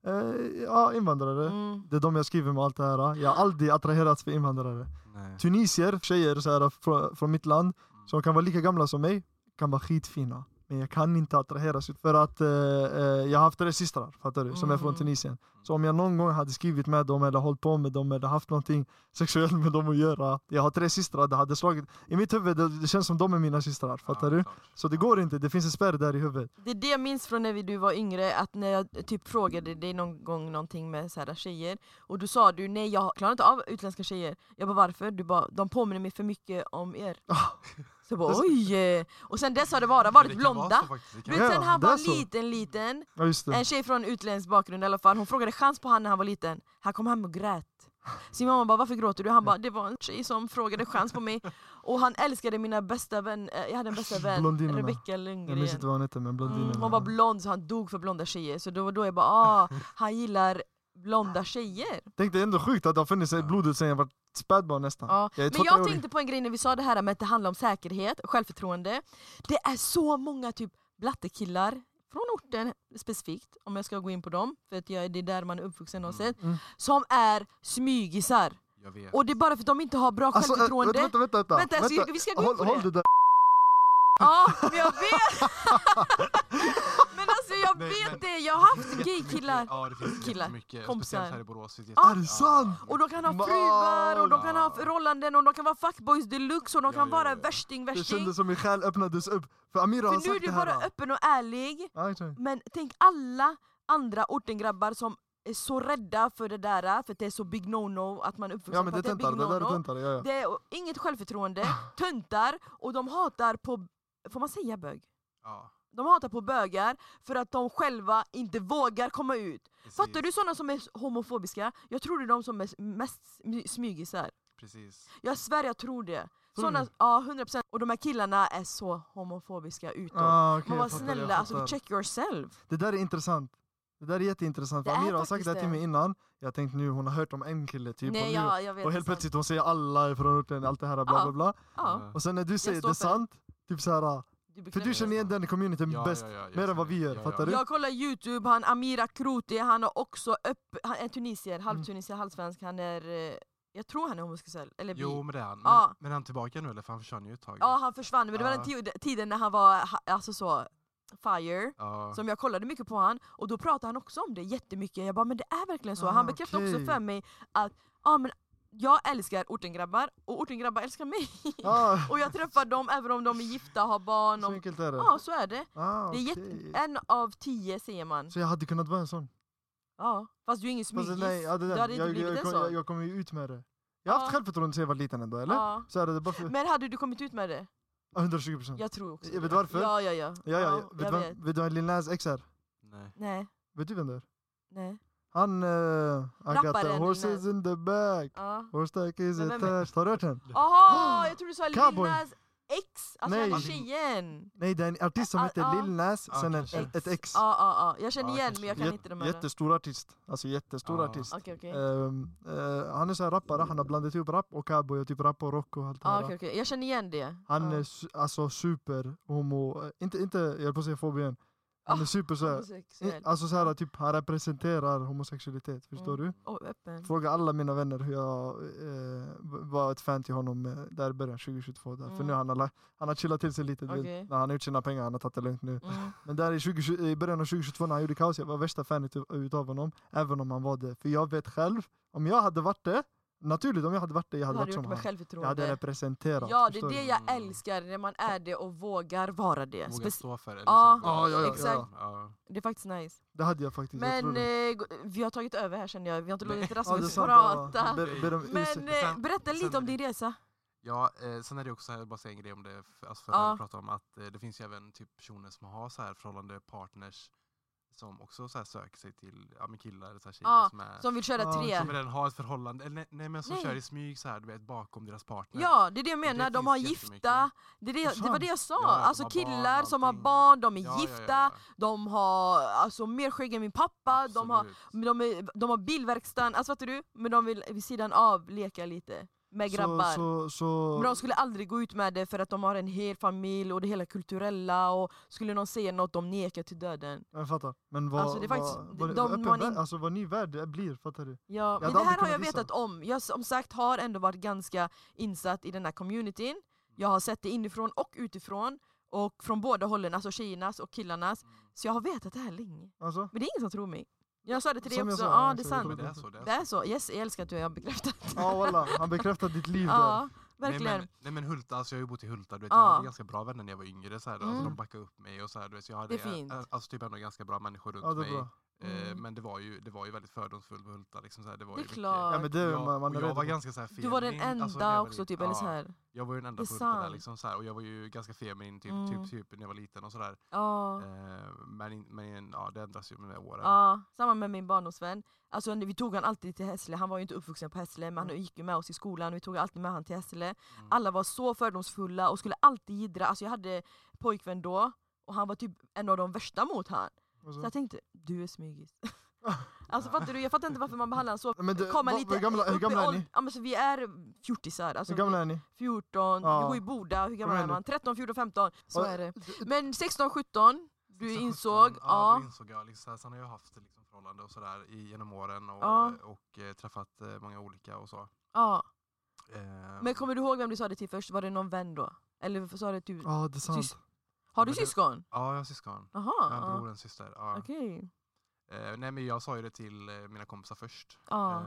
Speaker 2: Eh, ja invandrare.
Speaker 3: Mm.
Speaker 2: Det är de jag skriver med allt det här, jag har aldrig attraherats för invandrare.
Speaker 4: Nej.
Speaker 2: Tunisier, tjejer såhär, från, från mitt land, som kan vara lika gamla som mig, kan vara skitfina. Men jag kan inte attraheras för att eh, eh, jag har haft tre systrar, fattar du, som är från
Speaker 3: Mm.
Speaker 2: Tunisien. Så om jag någon gång hade skrivit med dem eller hållit på med dem eller haft någonting sexuellt med dem att göra. Jag har tre systrar, det hade slagit. I mitt huvud det, det känns som de är mina systrar, fattar
Speaker 4: Ja,
Speaker 2: du?
Speaker 4: klart.
Speaker 2: Så det går inte, det finns en spärr där i huvudet.
Speaker 3: Det är det jag minns från när vi- du var yngre, att när jag typ frågade dig någon gång någonting med så här tjejer Och då sa du nej jag klarar inte av utländska tjejer Jag bara varför? Du bara de påminner mig för mycket om er
Speaker 2: Ah,
Speaker 3: Så jag bara oj! eh. Och sen dess har det bara
Speaker 4: Men
Speaker 3: varit
Speaker 4: det kan vara
Speaker 3: blonda
Speaker 4: så faktiskt, det
Speaker 3: Du
Speaker 4: kan
Speaker 3: vet
Speaker 2: Ja,
Speaker 3: sen han
Speaker 2: det är
Speaker 3: var
Speaker 2: så.
Speaker 3: liten liten,
Speaker 2: Ja just det.
Speaker 3: en tjej från utländsk bakgrund i alla fall, hon frågade chans på han när han var liten Han kom hem och grät Sin mamma bara varför gråter du? Han bara det var en tjej som frågade chans på mig Och han älskade mina bästa vän, eh, jag hade en bästa vän,
Speaker 2: Blondinerna.
Speaker 3: Rebecca
Speaker 2: Jag
Speaker 3: Lundgren
Speaker 2: minns inte vad hon hette men blondinen.
Speaker 3: Mm, hon var blond så han dog för blonda tjejer, så då, då jag bara ah, han gillar blonda tjejer.
Speaker 2: Tänk det är ändå sjukt att det har funnits i blodet sedan jag var spädbarn nästan.
Speaker 3: Ja.
Speaker 2: Jag är
Speaker 3: Men
Speaker 2: 28
Speaker 3: jag
Speaker 2: år.
Speaker 3: tänkte på en grej när vi sa det här med att det handlar om säkerhet och självförtroende. Det är så många typ blattekillar från orten specifikt, om jag ska gå in på dem, för att jag, det är där man är uppvuxen och sett,
Speaker 2: Mm.
Speaker 3: som är smygisar.
Speaker 4: Jag vet.
Speaker 3: Och det är bara för att de inte har bra
Speaker 2: Alltså, eh,
Speaker 3: självförtroende.
Speaker 2: vänta, vänta, vänta, vänta.
Speaker 3: Vänta, alltså, vi ska gå in
Speaker 2: håll,
Speaker 3: på
Speaker 2: håll det
Speaker 3: det.
Speaker 2: där.
Speaker 3: Ja, men jag vet! men alltså jag
Speaker 4: Nej,
Speaker 3: vet
Speaker 4: men-
Speaker 3: det, jag har haft gaykillar.
Speaker 4: Ja, det finns
Speaker 3: Killar.
Speaker 4: jättemycket.
Speaker 3: Kompisar.
Speaker 4: Speciellt här i Borås. finns
Speaker 3: Ja.
Speaker 2: Är det sant?
Speaker 3: Och de kan ha fruar, och de kan ha förhållanden, och de kan vara fuckboys deluxe, och de
Speaker 4: Ja,
Speaker 3: kan
Speaker 4: ja,
Speaker 3: vara
Speaker 4: ja.
Speaker 3: värsting,
Speaker 2: Det
Speaker 3: värsting.
Speaker 2: kändes som min själ öppnades upp. För Amira har
Speaker 3: För nu är
Speaker 2: sagt
Speaker 3: du
Speaker 2: det här.
Speaker 3: bara öppen Mm, och ärlig,
Speaker 2: Ja, exakt.
Speaker 3: men tänk alla andra ortengrabbar som är så rädda för det där, för att det är så big no-no, att man är uppvuxen
Speaker 2: ja men
Speaker 3: på
Speaker 2: det
Speaker 3: att det är
Speaker 2: töntar,
Speaker 3: big
Speaker 2: det där är
Speaker 3: no-no.
Speaker 2: töntar. Ah. Ja, ja.
Speaker 3: Det är inget självförtroende, töntar, och de hatar på, får man säga bög?
Speaker 4: Ja,
Speaker 3: De hatar på bögar för att de själva inte vågar komma ut.
Speaker 4: precis,
Speaker 3: Fattar du sådana som är homofobiska? Jag tror det är de som är mest smy- smygisar.
Speaker 4: Precis.
Speaker 3: Jag svär jag tror det.
Speaker 2: du
Speaker 3: Såna,
Speaker 2: det?
Speaker 3: ja, 100% Och de här killarna är så homofobiska utåt.
Speaker 2: Ah, okej,
Speaker 3: Man
Speaker 2: jag
Speaker 3: var
Speaker 2: fattar, jag
Speaker 3: snälla, alltså
Speaker 2: fattar.
Speaker 3: check yourself.
Speaker 2: Det där är intressant. Det där är jätteintressant. För
Speaker 3: Det är
Speaker 2: Amira har sagt det här
Speaker 3: faktiskt
Speaker 2: till
Speaker 3: det.
Speaker 2: mig innan. Jag tänkte nu, hon har hört om en kille typ. och,
Speaker 3: Nej,
Speaker 2: nu,
Speaker 3: ja, jag vet.
Speaker 2: och
Speaker 3: det är
Speaker 2: helt
Speaker 3: sant.
Speaker 2: plötsligt hon säger alla från orten, allt det här bla
Speaker 3: Ja.
Speaker 2: bla bla.
Speaker 3: Ja,
Speaker 2: Och sen när du säger
Speaker 3: står
Speaker 2: det är
Speaker 3: för det.
Speaker 2: sant, typ såhär.
Speaker 3: du
Speaker 2: För du
Speaker 3: bekräftar.
Speaker 2: känner igen den communityn
Speaker 4: Ja,
Speaker 2: bäst.
Speaker 4: ja, ja, jag
Speaker 2: mer än vad vi
Speaker 4: känner-
Speaker 2: gör,
Speaker 4: ja, ja.
Speaker 2: fattar du?
Speaker 3: Jag kollar youtube, han Amira Kroti, han har också öpp... Han är tunisier,
Speaker 2: Mm.
Speaker 3: halvtunisier, halvsvensk, han är... eh, Jag tror han är homosexuell, eller bi.
Speaker 4: Jo, men det är han. Men,
Speaker 3: Ja.
Speaker 4: men är han tillbaka nu eller? För han försvann ju ett tag.
Speaker 3: Ja, han försvann, men det var
Speaker 4: Ja.
Speaker 3: den ti- tiden när han var ha- alltså så fire.
Speaker 4: Ja.
Speaker 3: Som jag kollade mycket på han, och då pratade han också om det jättemycket. Jag bara, men det är verkligen så.
Speaker 2: Ah,
Speaker 3: han bekräftade
Speaker 2: okej.
Speaker 3: också för mig att ah, men jag älskar ortengrabbar, och ortengrabbar älskar mig.
Speaker 2: Ah,
Speaker 3: och jag träffar dem även om de är gifta, har barn.
Speaker 2: så
Speaker 3: om-
Speaker 2: enkelt är det.
Speaker 3: Ja, så är det.
Speaker 2: Ah,
Speaker 3: det är
Speaker 2: okej.
Speaker 3: jätte... En av tio säger man.
Speaker 2: Så jag hade kunnat vara en sån.
Speaker 3: Ja. Fast du är ingen
Speaker 2: Fast
Speaker 3: smygis.
Speaker 2: nej, ja, det
Speaker 3: du
Speaker 2: där,
Speaker 3: hade inte
Speaker 2: jag,
Speaker 3: blivit
Speaker 2: jag,
Speaker 3: en
Speaker 2: jag,
Speaker 3: sån.
Speaker 2: jag kommer ju ut med det. Jag har haft
Speaker 3: Ja.
Speaker 2: självförtroende sen jag var liten ändå, eller?
Speaker 3: Ja.
Speaker 2: Så är det bara för...
Speaker 3: Men hade du kommit ut med det?
Speaker 2: 120 procent. Ja,
Speaker 3: Jag tror också
Speaker 2: Jag vet
Speaker 3: det.
Speaker 2: varför.
Speaker 3: Ja, ja, ja.
Speaker 2: ja, ja.
Speaker 3: jag
Speaker 2: Vet du vad-
Speaker 3: vet.
Speaker 2: Vet du vad Lil Nas X är?
Speaker 4: Nej.
Speaker 3: Nej,
Speaker 2: Vet du vem det är?
Speaker 3: nej.
Speaker 2: Han... Uh, I got
Speaker 3: Rapparen
Speaker 2: the
Speaker 3: Lil
Speaker 2: horses
Speaker 3: Nas.
Speaker 2: in the back.
Speaker 3: Ja.
Speaker 2: Horse stack is
Speaker 3: Men vem är-
Speaker 2: attached. Har du hört den?
Speaker 3: Aha, jag trodde du sa Lil
Speaker 2: Cowboy.
Speaker 3: Nas X! Alltså
Speaker 2: Nej.
Speaker 3: den tjejen!
Speaker 2: Nej, det är en artist som
Speaker 3: Ah,
Speaker 2: heter
Speaker 3: ah.
Speaker 2: Lil Nas,
Speaker 4: Ah,
Speaker 2: sen en,
Speaker 4: kanske.
Speaker 2: en, ett X.
Speaker 3: Ja, ja, ja. Jag känner
Speaker 4: Ja,
Speaker 3: igen
Speaker 4: kanske.
Speaker 3: men jag kan
Speaker 2: Jät-
Speaker 3: inte de andra.
Speaker 2: jättestor artist. Alltså jättestor
Speaker 4: Ah.
Speaker 2: artist.
Speaker 3: Okej, okej.
Speaker 2: Ehm, eh, han är så här rappare, han har blandat ihop rap och cowboy och typ rap och rock och allt det
Speaker 3: Ja,
Speaker 2: här.
Speaker 3: okej, okej. Jag känner igen det.
Speaker 2: Han
Speaker 3: Ja.
Speaker 2: är su- alltså super homo, eh, inte, inte, jag höll på att säga fobi igen. Han är
Speaker 3: Ah,
Speaker 2: super såhär,
Speaker 3: homosexuell.
Speaker 2: alltså såhär typ han representerar homosexualitet, förstår
Speaker 3: Mm.
Speaker 2: du?
Speaker 3: Och öppen.
Speaker 2: Fråga alla mina vänner hur jag eh, var ett fan till honom eh, där i början 2022 där. För
Speaker 3: Mm.
Speaker 2: nu han har, la- han har chillat till sig lite, du
Speaker 3: Okej.
Speaker 2: vet, när han har gjort sina pengar, han har tagit det lugnt nu.
Speaker 3: Mm.
Speaker 2: Men där i, 20, i början av 2022 när han gjorde kaos, jag var värsta fanet ut- utav honom. Även om han var det. För jag vet själv, om jag hade varit det, naturligt om jag hade varit det, jag
Speaker 3: Jag
Speaker 2: hade
Speaker 3: hade
Speaker 2: varit
Speaker 3: gjort
Speaker 2: som
Speaker 3: med
Speaker 2: han. Jag hade
Speaker 3: självförtroende.
Speaker 2: representerat.
Speaker 3: Ja, det
Speaker 2: förstår
Speaker 3: är
Speaker 2: du?
Speaker 3: det jag älskar, när man är det och vågar vara det.
Speaker 4: Våga
Speaker 3: Spec-
Speaker 4: stå för det.
Speaker 3: Ja,
Speaker 4: liksom.
Speaker 2: ja, ja, ja,
Speaker 3: exakt.
Speaker 4: Ja.
Speaker 3: det är faktiskt nice.
Speaker 2: Det hade jag faktiskt. jag tror
Speaker 3: Men
Speaker 2: det.
Speaker 3: eh, gå- vi har tagit över här känner jag, vi har inte
Speaker 4: Nej.
Speaker 3: låtit
Speaker 2: Ja, det är
Speaker 3: Rasmus
Speaker 2: sant, ja.
Speaker 3: prata.
Speaker 2: Ber- ber om ursäkt.
Speaker 3: Men eh,
Speaker 4: Sen-
Speaker 3: berätta
Speaker 4: sen
Speaker 3: lite om
Speaker 4: är det-
Speaker 3: din resa.
Speaker 4: Ja, eh, sen är det också, här, jag vill bara säga en grej om det, för, alltså för
Speaker 3: Ja.
Speaker 4: att vi pratade om att eh, det finns ju även typ personer som har så här förhållande partners som också så här söker sig till ja, men killar eller så här tjejer
Speaker 3: Ja,
Speaker 4: som, är, som,
Speaker 3: Som vill köra
Speaker 2: Ja,
Speaker 3: tre.
Speaker 4: redan har ett förhållande, eller nej, nej men som
Speaker 3: Nej.
Speaker 4: kör i smyg så här, du vet, bakom deras partner.
Speaker 3: Ja, det är det jag menar,
Speaker 4: det
Speaker 3: de
Speaker 4: finns
Speaker 3: har
Speaker 4: jättemycket.
Speaker 3: gifta, det, är det, det var
Speaker 2: Sant.
Speaker 3: det jag sa,
Speaker 4: Ja, de
Speaker 3: alltså
Speaker 4: har barn och
Speaker 3: killar som har
Speaker 4: allting.
Speaker 3: barn, de är
Speaker 4: Ja, ja, ja,
Speaker 3: gifta,
Speaker 4: ja.
Speaker 3: de har alltså, mer skägg än min pappa, de har,
Speaker 4: Absolut.
Speaker 3: men de, är, de har bilverkstaden, alltså fattar du? Men de vill vid sidan av leka lite med grabbar.
Speaker 2: Så, så, så,
Speaker 3: Men de skulle aldrig gå ut med det för att de har en hel familj och det hela kulturella och skulle någon säga något de nekar till döden.
Speaker 2: jag fattar. Men vad,
Speaker 3: Alltså, det är faktiskt-
Speaker 2: vad, vad,
Speaker 3: de-
Speaker 2: vad, öppen
Speaker 3: man
Speaker 2: värld-
Speaker 3: in-
Speaker 2: alltså, vad ny värld det blir, fattar du?
Speaker 3: Ja, men
Speaker 2: hade
Speaker 3: det här
Speaker 2: aldrig
Speaker 3: har jag
Speaker 2: kunnat gissa.
Speaker 3: vetat om. Jag som sagt har ändå varit ganska insatt i den här communityn. Jag har sett det inifrån och utifrån och från båda hållen, alltså tjejernas och killarnas.
Speaker 2: Mm.
Speaker 3: Så jag har vetat det här länge.
Speaker 2: Alltså,
Speaker 3: Men det är ingen som tror mig. Jag sa det till dig
Speaker 2: Som jag
Speaker 3: också,
Speaker 2: sa,
Speaker 3: ja
Speaker 2: ja,
Speaker 3: det är
Speaker 2: så jag
Speaker 3: sant.
Speaker 2: tror
Speaker 4: Men det är så, det är
Speaker 3: Det är så, yes jag älskar att du har bekräftat.
Speaker 2: ja walla, han bekräftar ditt liv där.
Speaker 3: Ja, verkligen.
Speaker 4: Nej men, nej, men Hulta, alltså jag har ju bott i Hulta, du vet,
Speaker 3: Ja.
Speaker 4: jag hade ganska bra vänner när jag var yngre, så här, alltså,
Speaker 3: Mm.
Speaker 4: de backade upp mig och så här, du vet, så jag hade
Speaker 3: Det är fint.
Speaker 4: eh, Alltså, typ ändå ganska bra människor runt
Speaker 2: Ja, det är
Speaker 4: mig.
Speaker 2: bra.
Speaker 4: Eh,
Speaker 3: Mm.
Speaker 4: Men det var ju, det var ju väldigt fördomsfullt på Hulta. Liksom, så här, det var
Speaker 3: Det är
Speaker 4: ju mycket-
Speaker 3: klart.
Speaker 2: Ja men det är
Speaker 4: Ja,
Speaker 2: man, man är
Speaker 4: och jag var
Speaker 2: rädd.
Speaker 4: ganska så här
Speaker 3: Du var den
Speaker 4: feminin,
Speaker 3: enda
Speaker 4: alltså, när jag var
Speaker 3: också
Speaker 4: liten.
Speaker 3: typ, eller
Speaker 4: Ja,
Speaker 3: så här.
Speaker 4: Jag var ju den enda
Speaker 3: Det är
Speaker 4: på Hulta där
Speaker 3: sant.
Speaker 4: liksom, så här, och jag var ju ganska feminin typ,
Speaker 3: Mm.
Speaker 4: typ, typ när jag var liten och sådär.
Speaker 3: Ja.
Speaker 4: Eh, men in- men ja, det ändras ju med åren.
Speaker 3: Ja, samma med min barndomsvän. Alltså, vi tog han alltid till Hässle, han var ju inte uppvuxen på Hässle men han gick ju med oss i skolan, vi tog alltid med han till Hässle. Alla var så fördomsfulla och skulle alltid jiddra, alltså jag hade pojkvän då och han var typ en av de värsta mot han. Så
Speaker 2: Alltså.
Speaker 3: jag tänkte, du är smygis. alltså fattar du, jag fattar inte varför man behandlar han så.
Speaker 2: Men det,
Speaker 3: Komma
Speaker 2: vad-
Speaker 3: lite
Speaker 2: hur gamla, hur
Speaker 3: upp i
Speaker 2: gamla är
Speaker 3: åld-
Speaker 2: ni?
Speaker 3: Ja, men så vi är fjortisar, alltså
Speaker 2: Hur gamla är ni?
Speaker 3: 14,
Speaker 2: Ja.
Speaker 3: vi bor i Boda, hur gammal
Speaker 2: Hur
Speaker 3: är
Speaker 2: är ni?
Speaker 3: man? 13, 14, 15. Så
Speaker 2: Ja.
Speaker 3: är det. Men 16, 17, du insåg,
Speaker 4: Ja,
Speaker 3: ja.
Speaker 4: då insåg jag. Liksom, så här, sen har jag haft liksom, förhållande och sådär i- genom åren och,
Speaker 3: Ja.
Speaker 4: och, eh, träffat eh, många olika och så.
Speaker 3: ja.
Speaker 4: Eh,
Speaker 3: Men kommer du ihåg vem du sa det till först? Var det någon vän då? Eller sa det du? typ
Speaker 2: Ja det är sant.
Speaker 3: Sys- har
Speaker 4: Ja,
Speaker 3: du
Speaker 4: men det-
Speaker 3: syskon?
Speaker 4: Ja, jag har syskon.
Speaker 3: Jaha,
Speaker 4: Jag har en
Speaker 3: ja,
Speaker 4: bror och en syster. Ja.
Speaker 3: okej.
Speaker 4: Eh, nej, men jag sa ju det till eh, mina kompisar först.
Speaker 3: Ja,
Speaker 4: Eh,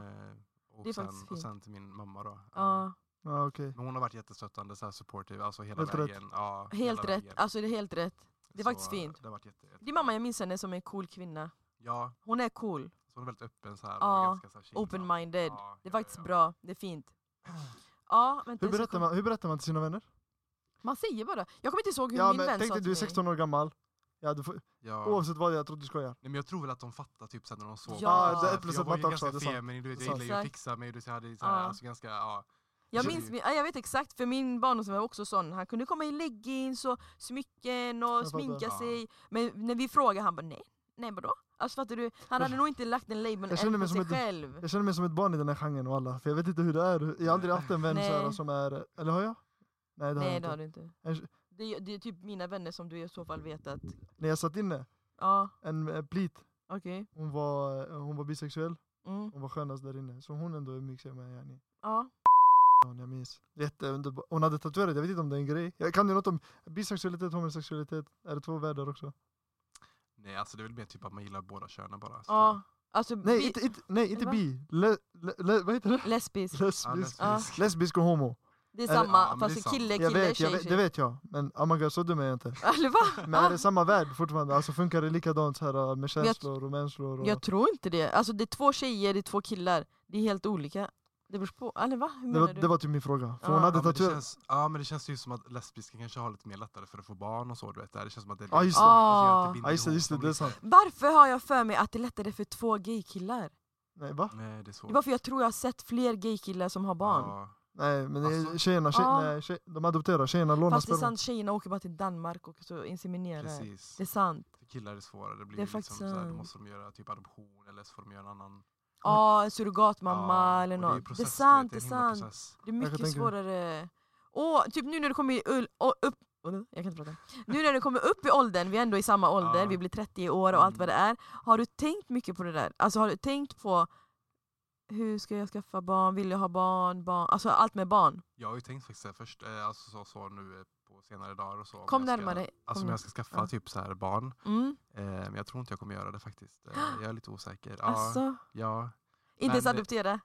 Speaker 4: och,
Speaker 3: Det är
Speaker 4: sen,
Speaker 3: faktiskt
Speaker 4: och
Speaker 3: fint.
Speaker 4: sen till min mamma då. Eh,
Speaker 3: ja.
Speaker 2: Ja okej.
Speaker 4: Men hon har varit jättestöttande, så här supportive, alltså hela
Speaker 2: Helt rätt.
Speaker 4: vägen. Ja,
Speaker 3: Helt
Speaker 4: hela
Speaker 3: rätt,
Speaker 4: vägen.
Speaker 3: alltså det är helt rätt. det är
Speaker 4: Så,
Speaker 3: faktiskt fint.
Speaker 4: Det har varit jätte, jätte...
Speaker 3: Din mamma, jag minns henne som en cool kvinna.
Speaker 4: Ja,
Speaker 3: Hon är cool,
Speaker 4: så hon är väldigt öppen så här.
Speaker 3: Ja,
Speaker 4: och ganska, så här, chill.
Speaker 3: open-minded.
Speaker 4: Ja,
Speaker 3: Det är
Speaker 4: ja,
Speaker 3: faktiskt
Speaker 4: ja.
Speaker 3: bra, det är fint. Ja, vänta,
Speaker 2: Hur
Speaker 3: jag ska
Speaker 2: berättar,
Speaker 3: kolla.
Speaker 2: man, hur berättar man till sina vänner?
Speaker 3: man säger bara. Jag kommer inte ihåg hur
Speaker 2: Ja
Speaker 3: min
Speaker 2: men
Speaker 3: vän
Speaker 2: tänk
Speaker 3: sa
Speaker 2: dig
Speaker 3: till
Speaker 2: du är
Speaker 3: mig.
Speaker 2: 16 år gammal. Ja, du får,
Speaker 4: Ja.
Speaker 2: Oavsett vad jag tror du skojar.
Speaker 4: Nej, men jag tror väl att de fattar typ sen när de såg
Speaker 3: Ja.
Speaker 4: mig,
Speaker 3: Ja,
Speaker 4: så här,
Speaker 2: det är plus
Speaker 4: för jag
Speaker 2: att
Speaker 4: var ju
Speaker 2: matta också,
Speaker 4: ganska
Speaker 2: det är sant.
Speaker 4: feminin, du vet,
Speaker 2: Det är
Speaker 4: jag
Speaker 2: sant.
Speaker 4: gillar ju att
Speaker 3: Exakt.
Speaker 4: fixa mig, du vet, jag hade ju så här,
Speaker 3: Ja.
Speaker 4: alltså ganska, ja.
Speaker 3: Jag
Speaker 2: Alltså,
Speaker 4: Tjugo.
Speaker 2: mm.
Speaker 3: minns, min- ja, jag vet exakt, för min barndomsvän var också sån. Han kunde komma i leggings och smycken och
Speaker 2: fattar.
Speaker 3: sminka
Speaker 4: Ja.
Speaker 3: sig. Men när vi frågade han bara nej, nej vadå? Alltså fattar du? Han hade nog inte lagt en label
Speaker 2: Jag känner
Speaker 3: än
Speaker 2: mig
Speaker 3: på
Speaker 2: som
Speaker 3: sig
Speaker 2: ett-
Speaker 3: själv.
Speaker 2: Jag känner mig som ett barn i den här genren walla, för jag vet inte hur det är. Jag har aldrig haft en vän så
Speaker 3: Nej.
Speaker 2: här, som är, eller har jag? Nej det har jag
Speaker 3: Nej det
Speaker 2: inte.
Speaker 3: har du inte.
Speaker 2: Jag-
Speaker 3: Det är, det är typ mina vänner som du i så fall vet att,
Speaker 2: När jag satt inne,
Speaker 3: ja
Speaker 2: en eh, plit,
Speaker 3: okej.
Speaker 2: hon var, eh, hon var bisexuell,
Speaker 3: Mm,
Speaker 2: hon var skönast där inne. Så hon ändå umgicks jag med yani.
Speaker 3: ja.
Speaker 2: Hon, Jag minns. Jätteunderbar. Hon hade tatuerat, jag vet inte om det är en grej. Jag kan ju något om bisexualitet, homosexualitet. Är det två världar också?
Speaker 4: Nej, alltså det är väl mer typ att man gillar båda könen bara. så.
Speaker 3: ja. Alltså
Speaker 2: Nej,
Speaker 3: bi-
Speaker 2: inte, inte, nej, inte
Speaker 3: Va?
Speaker 2: bi. Le, le, le, vad heter det?
Speaker 3: lesbisk,
Speaker 4: Ja,
Speaker 2: Lesbisk.
Speaker 4: lesbisk.
Speaker 2: Lesbisk och homo.
Speaker 3: det är
Speaker 2: Eller-
Speaker 3: samma
Speaker 4: ja, men
Speaker 3: fast
Speaker 4: det är
Speaker 3: det är kille,
Speaker 2: Jag
Speaker 3: kille,
Speaker 2: vet, jag
Speaker 3: tjej,
Speaker 2: vet, det
Speaker 3: tjej.
Speaker 2: vet jag. Men oh my god, så dum är jag inte.
Speaker 3: Eller va?
Speaker 2: Men är det samma värld fortfarande? Alltså funkar det likadant så här äh, med känslor och människor? Och...
Speaker 3: Jag tror inte det. Alltså det är två tjejer, det är två killar. Det är helt olika. Det beror på, eller va? Hur
Speaker 2: Det
Speaker 3: menar
Speaker 2: var,
Speaker 3: du?
Speaker 2: det var typ min fråga. För
Speaker 3: Ja.
Speaker 2: hon hade
Speaker 4: Ja men, det
Speaker 2: tatuerat...
Speaker 4: känns, ja men det känns ju som att lesbiska kanske har lite mer lättare för att få barn och så du vet. Det känns som att det är
Speaker 2: Ja, just det.
Speaker 4: alltså, gör att binder
Speaker 2: Ja just det,
Speaker 4: ihop
Speaker 2: just det,
Speaker 4: dem
Speaker 2: det är
Speaker 4: lite.
Speaker 2: sant.
Speaker 3: Ah. Varför har jag för mig att det är lättare för två gaykillar?
Speaker 2: Nej va?
Speaker 4: Nej det är
Speaker 3: Det
Speaker 4: svårt.
Speaker 3: var för jag tror jag har sett fler gaykillar som har barn.
Speaker 4: Ja.
Speaker 2: Nej men
Speaker 4: Alltså-
Speaker 2: alltså, tjejerna, tje,
Speaker 3: Ja.
Speaker 2: nej, tje, de adopterar, tjejerna lånar
Speaker 3: Ah. Fast det är
Speaker 2: sperma.
Speaker 3: sant, tjejerna åker bara till Danmark och så inseminerar.
Speaker 4: Precis. Mm.
Speaker 3: Det är sant.
Speaker 4: För killar är det svårare. Det blir
Speaker 3: Det är
Speaker 4: ju liksom
Speaker 3: faktiskt
Speaker 4: såhär, då
Speaker 3: sant.
Speaker 4: måste de göra typ adoption eller så får de göra en annan.
Speaker 3: Ja, en surrogatmamma
Speaker 4: Ja,
Speaker 3: eller
Speaker 4: och
Speaker 3: något.
Speaker 4: ju
Speaker 3: Det,
Speaker 4: process,
Speaker 3: är
Speaker 4: du vet,
Speaker 3: sant, det är
Speaker 4: en himla
Speaker 3: sant.
Speaker 4: process.
Speaker 3: Det är
Speaker 2: kan
Speaker 3: mycket
Speaker 2: tänka mig.
Speaker 3: svårare. Åh, typ nu när du kommer i ul- och upp... Åh, nej, Jag kan inte prata. Nu när du kommer upp i åldern, vi är ändå i samma ålder,
Speaker 4: Ja.
Speaker 3: vi blir 30 år och allt vad det är. Har du tänkt mycket på det där? Alltså har du tänkt på hur ska jag skaffa barn, vill jag ha barn, barn? Alltså allt med barn.
Speaker 4: Jag har ju tänkt faktiskt så här först, eh, alltså så, så nu eh, på senare dagar och så. om
Speaker 3: Kom
Speaker 4: jag ska-
Speaker 3: närmare.
Speaker 4: Alltså om
Speaker 3: Kom
Speaker 4: jag ska skaffa
Speaker 3: Ja.
Speaker 4: typ så här barn.
Speaker 3: Mm.
Speaker 4: Eh, men jag tror inte jag kommer göra det faktiskt. Eh, jag är lite osäker. Ja,
Speaker 3: Alltså,
Speaker 4: ja.
Speaker 3: inte ens
Speaker 4: men-
Speaker 3: adoptera.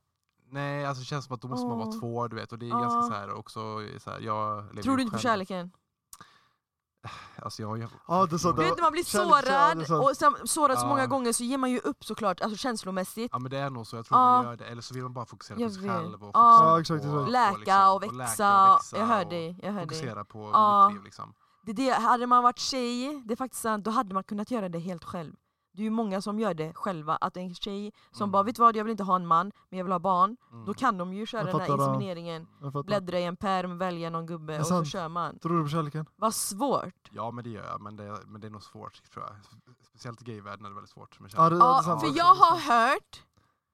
Speaker 4: Nej, alltså det känns som att då måste man
Speaker 3: Åh.
Speaker 4: vara två du vet. Och det är
Speaker 3: Ja.
Speaker 4: ganska så här också så här, jag lever
Speaker 3: Tror
Speaker 4: ju
Speaker 3: du inte på
Speaker 4: själv.
Speaker 3: kärleken?
Speaker 4: Alltså jag, jag,
Speaker 2: Ja, det sa
Speaker 4: jag-
Speaker 3: Du
Speaker 2: Ja,
Speaker 3: vet när man blir
Speaker 2: kärlek,
Speaker 3: sårad,
Speaker 2: kärlek, sant.
Speaker 3: och sen, sårad så
Speaker 4: Ja.
Speaker 3: många gånger så ger man ju upp såklart, alltså känslomässigt.
Speaker 4: Ja men det är nog så, jag tror
Speaker 3: Ja.
Speaker 4: man gör det. Eller så vill man bara fokusera
Speaker 3: Jag
Speaker 4: på sig
Speaker 3: vet.
Speaker 4: själv och
Speaker 3: Ja.
Speaker 4: fokusera
Speaker 2: Ja, exakt,
Speaker 4: på,
Speaker 2: exakt.
Speaker 4: på
Speaker 3: Läka
Speaker 4: liksom-
Speaker 3: och
Speaker 4: läka
Speaker 3: växa,
Speaker 4: växa
Speaker 3: jag hör
Speaker 4: och
Speaker 3: dig. Jag hör dig.
Speaker 4: Fokusera på
Speaker 3: Ja.
Speaker 4: mitt liv liksom.
Speaker 3: Det är det, hade man varit tjej, det är faktiskt sant, då hade man kunnat göra det helt själv. Det är ju många som gör det själva, att en tjej som
Speaker 4: Mm.
Speaker 3: bara vet du vad, jag vill inte ha en man, men jag vill ha barn.
Speaker 4: Mm.
Speaker 3: Då kan de ju köra
Speaker 2: Jag
Speaker 3: den här
Speaker 2: fattar, ja.
Speaker 3: insemineringen,
Speaker 2: Jag fattar.
Speaker 3: bläddra i en pärm, välja någon gubbe
Speaker 2: är
Speaker 3: och så
Speaker 2: sant.
Speaker 3: kör man.
Speaker 2: Tror du på kärleken?
Speaker 3: Vad svårt!
Speaker 4: Ja men det gör jag, men det, men det är nog svårt tror jag. Speciellt i gayvärlden är det väldigt svårt med
Speaker 2: Ja,
Speaker 4: kärlek.
Speaker 2: det, ja, det är
Speaker 3: Ja,
Speaker 2: sant.
Speaker 3: för jag har hört,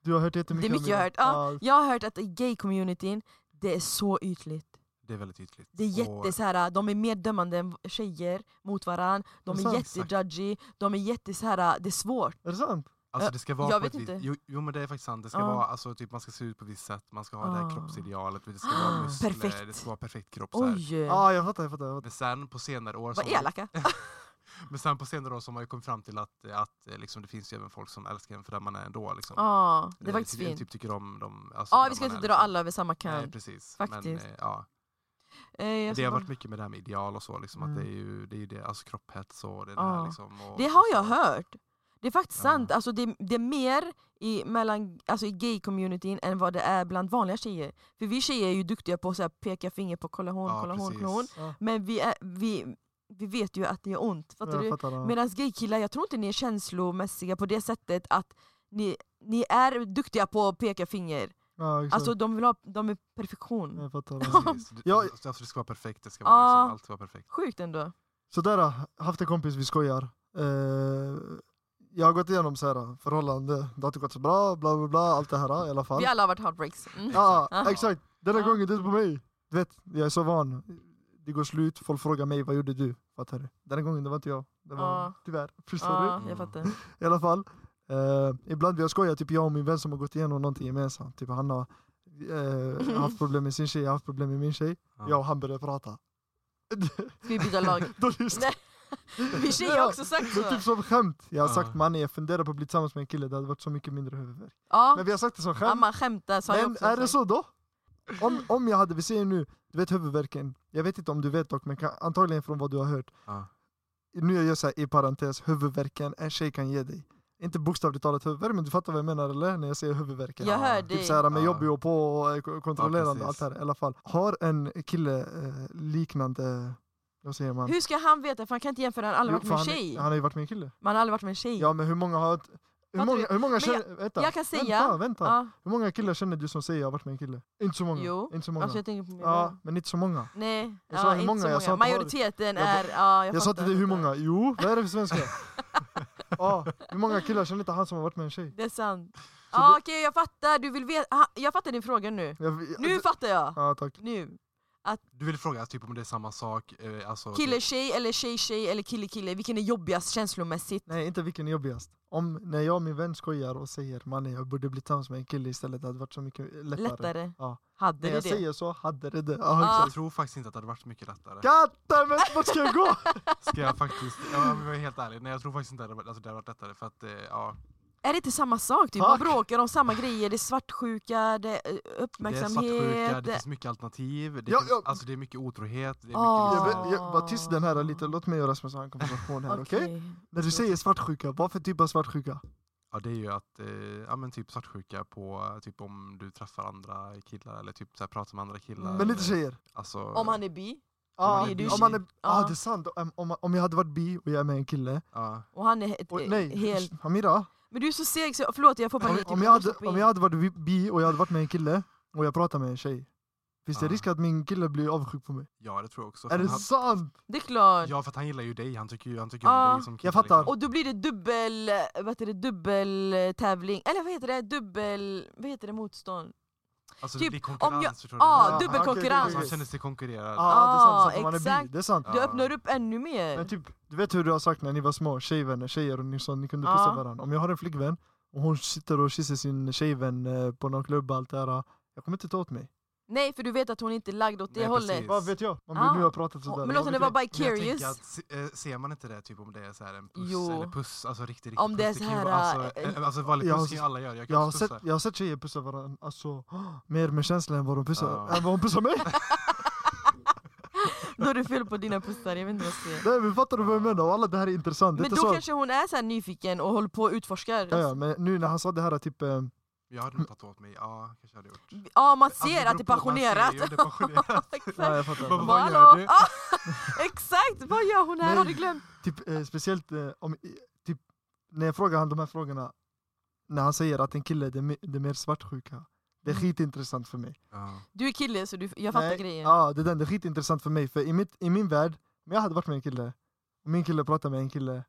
Speaker 2: Du har hört jättemycket
Speaker 3: Det är mycket jag har hört, ja. jag har hört att i gay-communityn, det är så ytligt.
Speaker 4: Det är väldigt ytligt.
Speaker 3: Det är
Speaker 4: Och-
Speaker 3: jätte, så här, de är mer dömande än tjejer mot varandra, de
Speaker 2: Det är
Speaker 3: är
Speaker 2: sant,
Speaker 4: exakt.
Speaker 3: jättejudgy, de är jätte så här, det är svårt.
Speaker 2: Är det sant?
Speaker 4: Alltså det ska vara
Speaker 3: jag
Speaker 4: på
Speaker 3: vet
Speaker 4: ett vis-
Speaker 3: inte.
Speaker 4: Jo, jo men det är faktiskt sant, det ska
Speaker 3: Ja.
Speaker 4: vara, alltså, typ, man ska se ut på ett visst sätt, man ska ha det här
Speaker 3: Ah.
Speaker 4: kroppsidealet, det ska vara muskler, det
Speaker 3: Perfekt.
Speaker 4: ska vara perfekt kropp. Så här.
Speaker 3: Oj!
Speaker 2: Ja, jag fattar, jag fattar. Jag fattar.
Speaker 4: Men sen på senare år så
Speaker 3: Vad
Speaker 4: har man-
Speaker 3: elaka!
Speaker 4: Men sen på senare år så har man ju kommit fram till att, att eh, liksom, det finns ju även folk som älskar en för den man är ändå. Liksom.
Speaker 3: Ja, det är
Speaker 4: Eh,
Speaker 3: faktiskt
Speaker 4: typ,
Speaker 3: fint.
Speaker 4: Typ tycker om dem. alltså,
Speaker 3: Ja,
Speaker 4: för
Speaker 3: vi
Speaker 4: den
Speaker 3: ska
Speaker 4: man
Speaker 3: inte
Speaker 4: är,
Speaker 3: dra
Speaker 4: liksom.
Speaker 3: alla över samma
Speaker 4: Nej,
Speaker 3: kant.
Speaker 4: precis.
Speaker 3: Faktiskt.
Speaker 4: Men, eh, ja.
Speaker 3: Eh, jag
Speaker 4: Det
Speaker 3: ska
Speaker 4: har
Speaker 3: bara-
Speaker 4: varit mycket med det här med ideal och så, liksom, att
Speaker 2: Mm.
Speaker 4: det är ju det är ju det, alltså kropphets och det, är det
Speaker 3: Ja.
Speaker 4: här liksom. Och,
Speaker 3: Det
Speaker 4: och
Speaker 3: har
Speaker 4: så.
Speaker 3: jag hört! Det är faktiskt
Speaker 4: Ja.
Speaker 3: sant, alltså det, det är mer i, mellan, alltså i gay-communityn än vad det är bland vanliga tjejer. För vi tjejer är ju duktiga på att så här peka finger på kolla hon,
Speaker 4: Ja,
Speaker 3: kolla hon,
Speaker 4: precis.
Speaker 3: kolla hon.
Speaker 2: Ja,
Speaker 3: Men vi, är, vi, vi vet ju att det gör ont, fattar
Speaker 2: jag
Speaker 3: du?
Speaker 2: fattar ja.
Speaker 3: Medan gaykillar, jag tror inte ni är känslomässiga på det sättet att ni, ni är duktiga på att peka finger.
Speaker 2: ja, exakt.
Speaker 3: Alltså de vill ha, de är perfektion.
Speaker 2: jag fattar. ja.
Speaker 4: Precis. Du-
Speaker 2: Ja.
Speaker 4: Alltså, det ska vara perfekt, det ska
Speaker 3: Ja.
Speaker 4: vara, liksom, allt ska vara perfekt.
Speaker 3: Sjukt ändå.
Speaker 2: Sådär, äh, haft en kompis, vi skojar. Eh, jag har gått igenom såhär, förhållande, det har inte gått så bra, bla bla bla, allt det här äh, i alla fall.
Speaker 3: Vi alla har varit heartbreaks. Mm.
Speaker 2: Ja,
Speaker 4: Ja.
Speaker 2: exakt. Den här
Speaker 3: Ja.
Speaker 2: gången, det är på mig. Du vet, jag är så van. Det går slut, folk frågar mig vad gjorde du? Fattar du? Den här gången, det var inte jag. Det var
Speaker 3: Ja.
Speaker 2: tyvärr. Förstår du?
Speaker 3: Ja, jag fattar.
Speaker 2: I alla fall. Eh, ibland vi har skojat, typ jag och min vän som har gått igenom någonting gemensamt. Typ han har eh, haft problem med sin tjej, jag har haft problem med min tjej.
Speaker 4: Ja.
Speaker 2: Jag och han började prata.
Speaker 3: Ska vi byta lag?
Speaker 2: Då lyssnade
Speaker 3: Vi tjejer har också sagt
Speaker 2: jag.
Speaker 3: så.
Speaker 2: Typ som skämt. Jag har
Speaker 4: Ja.
Speaker 2: sagt mannen, jag funderar på att bli tillsammans med en kille, det hade varit så mycket mindre huvudvärk.
Speaker 3: Ja,
Speaker 2: Men vi har sagt det som
Speaker 3: ja,
Speaker 2: skämt.
Speaker 3: man skämtar sa jag
Speaker 2: Men
Speaker 3: också.
Speaker 2: är det så då? Om, om jag hade, vi säger nu, du vet huvudvärken, jag vet inte om du vet dock, men kan, antagligen från vad du har hört.
Speaker 4: Ja.
Speaker 2: Nu jag gör så här i parentes, huvudvärken en tjej kan ge dig. Inte bokstavligt talat huvudvärk, men du fattar vad jag menar eller? När jag säger huvudvärken.
Speaker 3: Jag hör
Speaker 2: Typ
Speaker 3: dig.
Speaker 2: så här med
Speaker 4: Ja.
Speaker 2: jobbig och på och eh, ko- kontrollerande
Speaker 4: Ja,
Speaker 2: allt
Speaker 4: precis.
Speaker 2: det här i alla fall. Har en kille eh, liknande, vad säger man?
Speaker 3: Hur ska han veta? För han kan inte jämföra, han har aldrig
Speaker 2: Jo, för
Speaker 3: varit med en
Speaker 2: han,
Speaker 3: tjej.
Speaker 2: Han har ju varit med en kille.
Speaker 3: Man har aldrig varit med en tjej.
Speaker 2: Ja men hur många har... Hur
Speaker 3: Fattar
Speaker 2: många, hur många
Speaker 3: Men
Speaker 2: känner... vänta,
Speaker 3: jag kan säga-
Speaker 2: Vänta, vänta.
Speaker 3: Ja,
Speaker 2: Hur många killar känner du som säger jag har varit med en kille? Inte så många.
Speaker 3: Jo,
Speaker 2: Inte så många.
Speaker 3: Alltså jag tänker på min
Speaker 2: Ja,
Speaker 3: vän.
Speaker 2: men inte så många.
Speaker 3: Nej,
Speaker 2: Jag sa
Speaker 3: ja,
Speaker 2: hur
Speaker 3: inte
Speaker 2: många,
Speaker 3: så
Speaker 2: jag
Speaker 3: många.
Speaker 2: sa inte har-
Speaker 3: Majoriteten
Speaker 2: Jag
Speaker 3: är... Ja, jag
Speaker 2: Jag, sa
Speaker 3: fattar,
Speaker 2: till dig hur
Speaker 3: fattar.
Speaker 2: många? Jo, vad är det för svenska? ja, hur många killar känner inte han som har varit med en tjej?
Speaker 3: Det är sant.
Speaker 2: Så
Speaker 3: Ja,
Speaker 2: det-
Speaker 3: Okej, jag fattar. Du vill veta. ha- Jag fattar din fråga nu.
Speaker 2: Jag, alltså,
Speaker 3: Nu fattar jag!
Speaker 2: Ja tack.
Speaker 3: Nu.
Speaker 4: Du vill fråga typ, om det är samma sak? eh, Alltså,
Speaker 3: Kille tjej eller tjej tjej eller kille kille, vilken är jobbigast känslomässigt?
Speaker 2: Nej, inte vilken är jobbigast. Om när jag och min vän skojar och säger mannen jag borde bli tillsammans med en kille istället, det hade varit så mycket lättare.
Speaker 3: Lättare?
Speaker 2: Ja.
Speaker 3: Hade
Speaker 2: När
Speaker 3: du
Speaker 2: jag
Speaker 3: det?
Speaker 2: säger så, hade det det.
Speaker 3: Ah.
Speaker 2: Ja,
Speaker 4: Jag tror faktiskt inte att det hade varit så mycket lättare.
Speaker 2: exakt. Goddammit, vart ska jag gå?
Speaker 4: Ska jag faktiskt, ja, men jag är helt ärlig, nej jag tror faktiskt inte att det hade varit- alltså, det hade varit lättare för att, eh, ja.
Speaker 3: Är det inte samma sak? Typ?
Speaker 2: Fuck.
Speaker 3: Man bråkar om samma grejer, det är svartsjuka, det är
Speaker 4: Det är
Speaker 3: uppmärksamhet.
Speaker 4: svartsjuka, det finns mycket alternativ, det,
Speaker 2: Ja,
Speaker 4: finns,
Speaker 2: ja.
Speaker 4: Alltså, det är mycket otrohet, det är mycket
Speaker 3: Ah.
Speaker 2: Jag,
Speaker 4: liksom,
Speaker 2: vet- jag, var tyst den här lite, låt mig och Rasmus ha en konversation här, okej?
Speaker 3: Okej.
Speaker 2: När du säger svartsjuka, vad för typ av svartsjuka?
Speaker 4: Ja, det är ju att, eh, ja men typ svartsjuka på, eh, typ om du träffar andra killar eller typ så här, pratar med andra killar.
Speaker 2: Men lite
Speaker 4: eller-
Speaker 2: tjejer.
Speaker 4: Alltså,
Speaker 3: Om han är bi,
Speaker 2: Ja,
Speaker 4: man är bi-
Speaker 2: om man är, ah,
Speaker 3: Ja.
Speaker 2: det är sant. Om, om, om jag hade varit bi och jag är med en kille.
Speaker 4: ja,
Speaker 3: och han är ett,
Speaker 2: Och, nej,
Speaker 3: helt...
Speaker 2: Hamira.
Speaker 3: Men du är så seg, så, förlåt jag får
Speaker 2: Om,
Speaker 3: panik.
Speaker 2: om, jag hade, om jag hade varit bi- bi och jag hade varit med en kille och jag pratar med en tjej. Finns det
Speaker 4: Ah.
Speaker 2: risk att min kille blir avundsjuk på mig?
Speaker 4: ja, det tror jag också.
Speaker 2: Är
Speaker 4: för
Speaker 2: det
Speaker 4: han,
Speaker 2: sant?
Speaker 3: Det är klart.
Speaker 4: ja, för att han gillar ju dig. Han tycker ju han tycker om
Speaker 3: Ja.
Speaker 4: dig som kille.
Speaker 2: fattar.
Speaker 4: Liksom.
Speaker 3: Och då blir det dubbel, eh, vad heter det, dubbeltävling, eller vad heter det, dubbel, vad heter det motstånd?
Speaker 4: Alltså det
Speaker 3: typ,
Speaker 4: blir
Speaker 3: om jag-
Speaker 4: konkurrens. förstår du?
Speaker 3: Ja,
Speaker 2: Mm. Ja,
Speaker 3: ah,
Speaker 2: okej,
Speaker 3: dubbelkonkurrens!
Speaker 4: Alltså, han
Speaker 2: precis.
Speaker 4: känner sig konkurrerad.
Speaker 2: Ja, ah, det är sant.
Speaker 3: Ah,
Speaker 2: Så att man är bi.
Speaker 3: exakt.
Speaker 2: Det är sant.
Speaker 3: Du
Speaker 4: Ja.
Speaker 3: öppnar upp ännu
Speaker 2: Men
Speaker 3: mer.
Speaker 2: typ, du vet hur du har sagt när ni var små, tjejvänner, tjejer och ni, så, ni kunde pussa
Speaker 3: Ja.
Speaker 2: varandra. Om jag har en flickvän och hon sitter och kysser sin tjejvän eh, på någon klubb och allt det här, jag kommer inte ta åt mig.
Speaker 3: Nej, för du vet att hon inte är lagd åt det
Speaker 4: Nej,
Speaker 3: hållet.
Speaker 4: precis.
Speaker 2: Vad vet jag? Man vill
Speaker 3: Ja.
Speaker 2: nu ha pratat sådär.
Speaker 3: Men låt henne vara bara
Speaker 4: Men jag tänker
Speaker 3: curious.
Speaker 4: att, se- eh, ser man inte det typ om det är så här en puss
Speaker 3: Jo.
Speaker 4: eller puss, alltså riktig riktig
Speaker 3: Om det är
Speaker 4: puss,
Speaker 3: så
Speaker 4: kan ju
Speaker 3: här,
Speaker 4: vara- alltså,
Speaker 3: eh,
Speaker 4: eh, alltså vanlig
Speaker 2: jag
Speaker 4: puss
Speaker 2: har
Speaker 4: kan ju
Speaker 2: sett-
Speaker 4: alla göra, jag kan
Speaker 2: jag, har
Speaker 4: Typ också
Speaker 2: sett,
Speaker 4: pussa.
Speaker 2: jag har sett tjejer pussa varandra, alltså mer med känsla än vad de pussar,
Speaker 4: Ja.
Speaker 2: än vad hon pussar mig.
Speaker 3: Då är det fel på dina pussar, jag vet inte vad jag ska säga.
Speaker 2: Nej men fattar du vad jag menar? Och alla det här är intressant. Det är
Speaker 3: Men
Speaker 2: inte
Speaker 3: då
Speaker 2: så att,
Speaker 3: kanske hon är så här nyfiken och håller på och utforskar.
Speaker 2: ja, ja, men nu när han sa det här typ, eh,
Speaker 4: Jag hade nog tagit åt mig, ja kanske jag hade gjort. Alltså,
Speaker 3: Ja, man
Speaker 4: det
Speaker 3: Mm. ser
Speaker 4: beror
Speaker 3: att det är
Speaker 4: på, man ser ju
Speaker 3: passionerat.
Speaker 4: det är passionerat.
Speaker 2: ja,
Speaker 3: Exakt.
Speaker 2: jag fattar.
Speaker 4: Vad-
Speaker 3: Bara,
Speaker 4: vad gör
Speaker 3: hallå?
Speaker 4: du?
Speaker 3: Ah, Exakt, vad gör hon här?
Speaker 2: Nej.
Speaker 3: Har du glömt?
Speaker 2: Typ, eh, speciellt eh, om, i- typ, när jag frågar han de här frågorna, när han säger att en kille det är, me- det är mer svartsjuka. Det är skitintressant för mig.
Speaker 4: Ja.
Speaker 3: Du är kille så du, Mm. jag fattar
Speaker 2: Nej,
Speaker 3: grejen.
Speaker 2: Ja, det är den. Det är skitintressant för mig. För i, mitt, i min värld, om jag hade varit med en kille, och min kille pratar med en kille,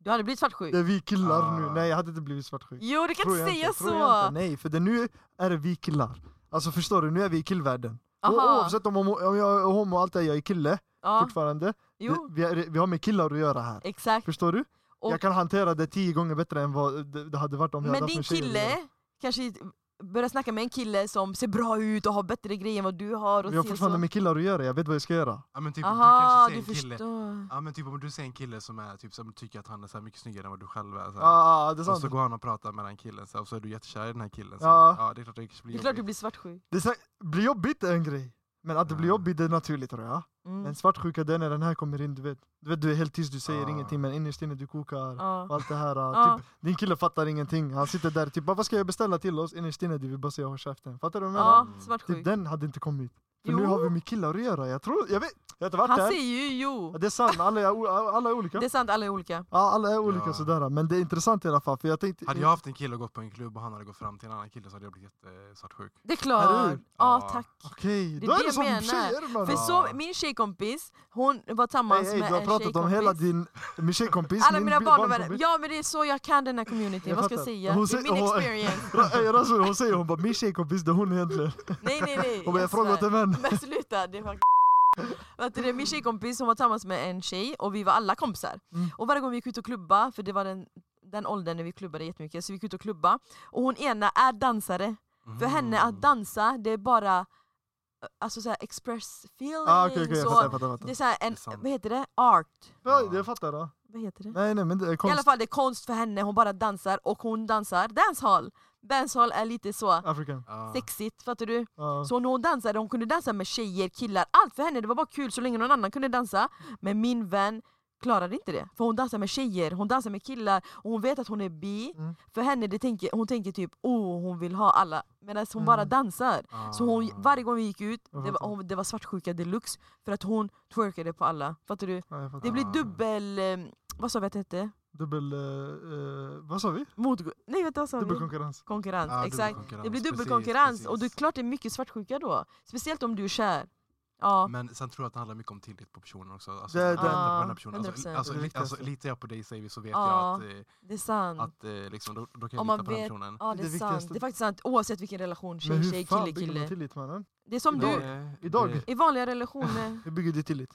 Speaker 3: Du hade blivit svartsjuk.
Speaker 2: det är vi killar
Speaker 4: Ah.
Speaker 2: nu. Nej, jag hade inte blivit svartsjuk.
Speaker 3: Jo, du kan
Speaker 2: Tror
Speaker 3: inte
Speaker 2: jag
Speaker 3: säga
Speaker 2: inte, tror
Speaker 3: så!
Speaker 2: jag inte. Nej, för det, nu är det vi killar. Alltså förstår du, nu är vi i killvärlden. Och,
Speaker 3: Aha.
Speaker 2: oavsett om, om, om jag är homo och allt det, jag är kille
Speaker 3: ja.
Speaker 2: fortfarande.
Speaker 3: Jo,
Speaker 2: Vi, vi, är, vi har med killar att göra här.
Speaker 3: exakt.
Speaker 2: Förstår du?
Speaker 3: Och-
Speaker 2: jag kan hantera det tio gånger bättre än vad det, det hade varit om jag hade
Speaker 3: Men
Speaker 2: haft
Speaker 3: din
Speaker 2: med tjejer att göra.
Speaker 3: kille kanske börjar snacka med en kille som ser bra ut och har bättre grejer än vad du har. Och
Speaker 2: Jag har
Speaker 3: ser
Speaker 2: fortfarande
Speaker 3: så.
Speaker 2: med killar att göra, jag vet vad jag ska göra.
Speaker 4: ja men typ
Speaker 3: Aha,
Speaker 4: du
Speaker 3: du
Speaker 4: kanske ser en kille,
Speaker 3: förstår.
Speaker 4: ja men typ om du ser en kille som är typ som tycker att han är så här mycket snyggare än vad du själv är så här.
Speaker 2: Ja, ah, det är
Speaker 4: Och
Speaker 2: sant.
Speaker 4: så går han och pratar med den killen så här, och så är du jättekär i den här killen. Så,
Speaker 2: Ja.
Speaker 4: ja det är klart det kanske
Speaker 3: Det är
Speaker 4: blir
Speaker 3: klart du
Speaker 4: jobbigt.
Speaker 3: blir svartsjuk.
Speaker 2: Det är så, blir jobbigt är en grej. Men att det blir
Speaker 4: Ja.
Speaker 2: jobbigt det är naturligt tror jag.
Speaker 3: Mm.
Speaker 2: Men svartsjuka det är när den här kommer in, du vet. Du vet du är helt tyst, du säger
Speaker 4: Ah.
Speaker 2: ingenting men innerst inne du kokar. Och
Speaker 3: Ja.
Speaker 2: allt det här.
Speaker 3: Ja.
Speaker 2: Typ, din kille fattar ingenting. Han sitter där typ bara, vad ska jag beställa till oss? Innerst inne du vill bara säga håll käften. Fattar du vad jag menar?
Speaker 3: Ja,
Speaker 4: Mm.
Speaker 2: Typ
Speaker 3: svartsjuk.
Speaker 2: den hade inte kommit. För nu
Speaker 3: Jo.
Speaker 2: har vi med killar att göra. Jag tror, jag vet, jag har inte varit
Speaker 3: Han
Speaker 2: där.
Speaker 3: säger ju jo.
Speaker 2: Ja, Det är sant, alla är, o- alla är olika.
Speaker 3: Det är sant, alla är olika.
Speaker 2: Ja, alla är olika
Speaker 4: Ja.
Speaker 2: sådär. Men det är intressant i alla fall. För jag tänkte,
Speaker 4: Hade jag haft en kille och gått på en klubb och han hade gått fram till en annan kille så hade jag blivit jättesvartsjuk.
Speaker 3: Det är klart.
Speaker 2: hur?
Speaker 3: Ja,
Speaker 4: Ja.
Speaker 3: tack.
Speaker 2: Okej,
Speaker 3: Det är
Speaker 2: då är
Speaker 3: det
Speaker 2: det
Speaker 3: jag
Speaker 2: som
Speaker 3: menar.
Speaker 2: tjejer mannen.
Speaker 3: För så, min tjejkompis, hon var tillsammans
Speaker 2: Hey, hey, du
Speaker 3: med
Speaker 2: har
Speaker 3: en
Speaker 2: pratat om hela
Speaker 3: tjejkompis.
Speaker 2: din, min tjejkompis,
Speaker 3: Alla
Speaker 2: min
Speaker 3: mina
Speaker 2: bi-
Speaker 3: barn och vänner.
Speaker 2: barnkompis.
Speaker 3: Ja men det är så jag kan den här communityn,
Speaker 2: Jag
Speaker 3: vad ska jag
Speaker 2: fattar.
Speaker 3: säga?
Speaker 2: Hon
Speaker 3: Det är
Speaker 2: säger-
Speaker 3: min
Speaker 2: hon-
Speaker 3: experience.
Speaker 2: Ra- eh, Rasul, hon säger hon bara min tjejkompis det är hon egentligen.
Speaker 3: Nej nej nej.
Speaker 2: Hon bara jag frågar
Speaker 3: svär.
Speaker 2: åt en vän.
Speaker 3: Men sluta, det är faktiskt... Vet du, det, min tjejkompis hon var tillsammans med en tjej och vi var alla kompisar.
Speaker 2: Mm.
Speaker 3: Och varje gång vi gick ut och klubba, för det var den, den åldern när vi klubbade jättemycket, så vi gick ut och klubba. Och hon ena är dansare. För henne
Speaker 4: Mm.
Speaker 2: Mm.
Speaker 3: att dansa, det är bara alltså så här express feeling.
Speaker 2: Ah, okej, okej, jag
Speaker 3: så
Speaker 2: fattar, jag fattar. jag
Speaker 3: det
Speaker 2: fattar.
Speaker 3: är så här en,
Speaker 4: Det är sant.
Speaker 3: vad heter det? Art.
Speaker 2: Ja, jag fattar. Ja.
Speaker 3: Vad heter det?
Speaker 2: Nej nej men det är
Speaker 3: I
Speaker 2: konst.
Speaker 3: alla fall det är konst för henne, hon bara dansar och hon dansar dancehall. Dancehall är lite så
Speaker 2: African.
Speaker 4: Ja.
Speaker 3: sexigt, fattar du?
Speaker 2: Ja.
Speaker 3: Så när hon dansade, hon kunde dansa med tjejer, killar, allt för henne, det var bara kul så länge någon annan kunde dansa. Men min vän klarade inte det, för hon dansar med tjejer, hon dansar med killar och hon vet att hon är bi.
Speaker 2: Mm.
Speaker 3: För henne, det tänker, hon tänker typ oh, hon vill ha alla, medan hon
Speaker 2: Mm.
Speaker 3: bara dansar. Så hon,
Speaker 4: Ah.
Speaker 3: varje gång vi gick ut,
Speaker 2: Jag
Speaker 3: det var,
Speaker 2: fattar.
Speaker 3: hon, det var svartsjuka deluxe, för att hon twerkade på alla. Fattar du?
Speaker 2: Ja, jag
Speaker 3: Det
Speaker 2: fattar.
Speaker 3: blir
Speaker 4: Ah.
Speaker 3: dubbel, eh, vad sa vi att det hette?
Speaker 2: Dubbel... eh, eh, vad sa vi?
Speaker 3: Mot, nej vänta vad sa
Speaker 2: Dubbel Ah,
Speaker 3: vi?
Speaker 2: konkurrens.
Speaker 3: Konkurrens,
Speaker 4: Ja,
Speaker 3: exakt.
Speaker 4: dubbelkonkurrens,
Speaker 3: Det blir
Speaker 4: precis,
Speaker 3: dubbelkonkurrens och det är
Speaker 4: precis.
Speaker 3: klart det är mycket svartsjuka då. Speciellt om du är kär. Ja.
Speaker 4: Men sen tror jag att det handlar mycket om tillit på personen också. Alltså,
Speaker 2: Det är
Speaker 4: litar jag
Speaker 3: den.
Speaker 4: på den här
Speaker 3: Ah,
Speaker 4: personen. Alltså,
Speaker 3: 100%.
Speaker 4: alltså,
Speaker 2: Det är
Speaker 4: li,
Speaker 2: det
Speaker 4: alltså,
Speaker 2: viktigaste.
Speaker 4: litar jag på dig säger vi så vet
Speaker 3: Ah.
Speaker 4: jag att,
Speaker 3: Det är sant.
Speaker 4: eh, att eh, liksom, då, då kan jag
Speaker 3: Om
Speaker 4: lita
Speaker 3: man
Speaker 4: på den
Speaker 3: vet-
Speaker 4: personen.
Speaker 3: ja,
Speaker 2: det
Speaker 3: det
Speaker 2: är
Speaker 3: är sant.
Speaker 2: viktigaste.
Speaker 3: Det är faktiskt sant. Oavsett vilken relation,
Speaker 2: Men
Speaker 3: tjej,
Speaker 2: hur
Speaker 3: tjej,
Speaker 2: fan
Speaker 3: kille,
Speaker 2: bygger man
Speaker 3: kille.
Speaker 2: tillit mannen?
Speaker 3: Det är som du.
Speaker 4: Det-
Speaker 2: idag-
Speaker 4: Det,
Speaker 3: I vanliga relationer.
Speaker 2: Hur bygger du tillit?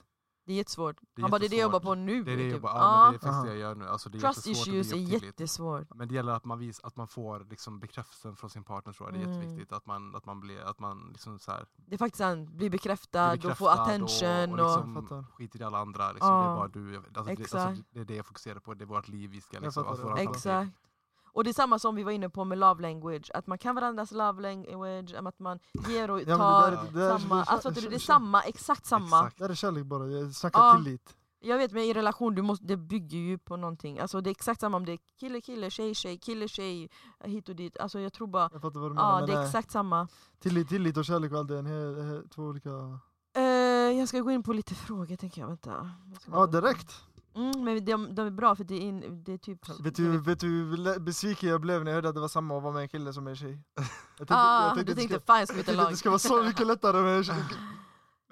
Speaker 3: Det är jättesvårt.
Speaker 4: Det är
Speaker 3: Han bara, det är det jag jobbar
Speaker 4: jättesvårt.
Speaker 3: på nu.
Speaker 4: det är det jag
Speaker 3: typ.
Speaker 4: jobbar,
Speaker 3: Ja.
Speaker 4: ja, men det är faktiskt
Speaker 2: Aha.
Speaker 4: det jag gör nu. Alltså, det är
Speaker 3: Trust
Speaker 4: jättesvårt att bygga
Speaker 3: issues är
Speaker 4: upp tillit.
Speaker 3: jättesvårt.
Speaker 4: Men det gäller att man, vis, att man får liksom, bekräftelsen från sin partner tror jag, det är
Speaker 3: Mm.
Speaker 4: jätteviktigt. Att man, att man blir, att man liksom så här,
Speaker 3: Det är faktiskt sant. Bli
Speaker 4: blir
Speaker 3: bekräftad,
Speaker 4: bekräftad
Speaker 3: och få attention. Och,
Speaker 4: och, och
Speaker 2: Jag fattar.
Speaker 4: liksom, skiter i alla andra. Liksom, Det
Speaker 3: Ja.
Speaker 4: är bara du. Alltså, det, alltså,
Speaker 3: Exakt.
Speaker 4: det är det jag fokuserar på, det är vårt liv vi ska
Speaker 2: Jag
Speaker 4: liksom,
Speaker 2: fattar
Speaker 4: alltså,
Speaker 2: det.
Speaker 4: våran framtid.
Speaker 3: Exakt. Och det är samma som vi var inne på med love language, att man kan varandras love language, att man ger och
Speaker 2: Ja, men
Speaker 3: tar. alltså,
Speaker 2: det där är- det där är-
Speaker 3: samma, alltså, fattar du, det är samma, exakt samma.
Speaker 4: Exakt.
Speaker 2: Det här är kärlek bara, jag snackar
Speaker 3: Ja.
Speaker 2: tillit.
Speaker 3: Jag vet men i relation, du måste, det bygger ju på någonting. Alltså det är exakt samma om det är kille kille, tjej tjej, kille tjej, hit och dit. Alltså jag tror bara,
Speaker 2: Jag fattar vad du
Speaker 3: ja
Speaker 2: menar. men
Speaker 3: det är
Speaker 2: nej.
Speaker 3: exakt samma.
Speaker 2: tillit, tillit och kärlek och allt det är en hel, he- två olika...
Speaker 3: Eh, jag ska gå in på lite frågor tänker jag, vänta. Jag ska
Speaker 2: Ja,
Speaker 3: bara-
Speaker 2: direkt!
Speaker 3: Mm, men de, de är bra för det är, in, det är typ...
Speaker 2: Vet du, vet du hur le- besviken jag blev när jag hörde att det var samma att vara med en kille som en tjej? Jag tänkte,
Speaker 3: ah,
Speaker 2: jag tänkte
Speaker 3: du
Speaker 2: att det
Speaker 3: tänkte
Speaker 2: ska-
Speaker 3: fan jag ska
Speaker 2: jag
Speaker 3: byta
Speaker 2: tänkte att
Speaker 3: lag.
Speaker 2: det ska vara så mycket lättare med en tjej.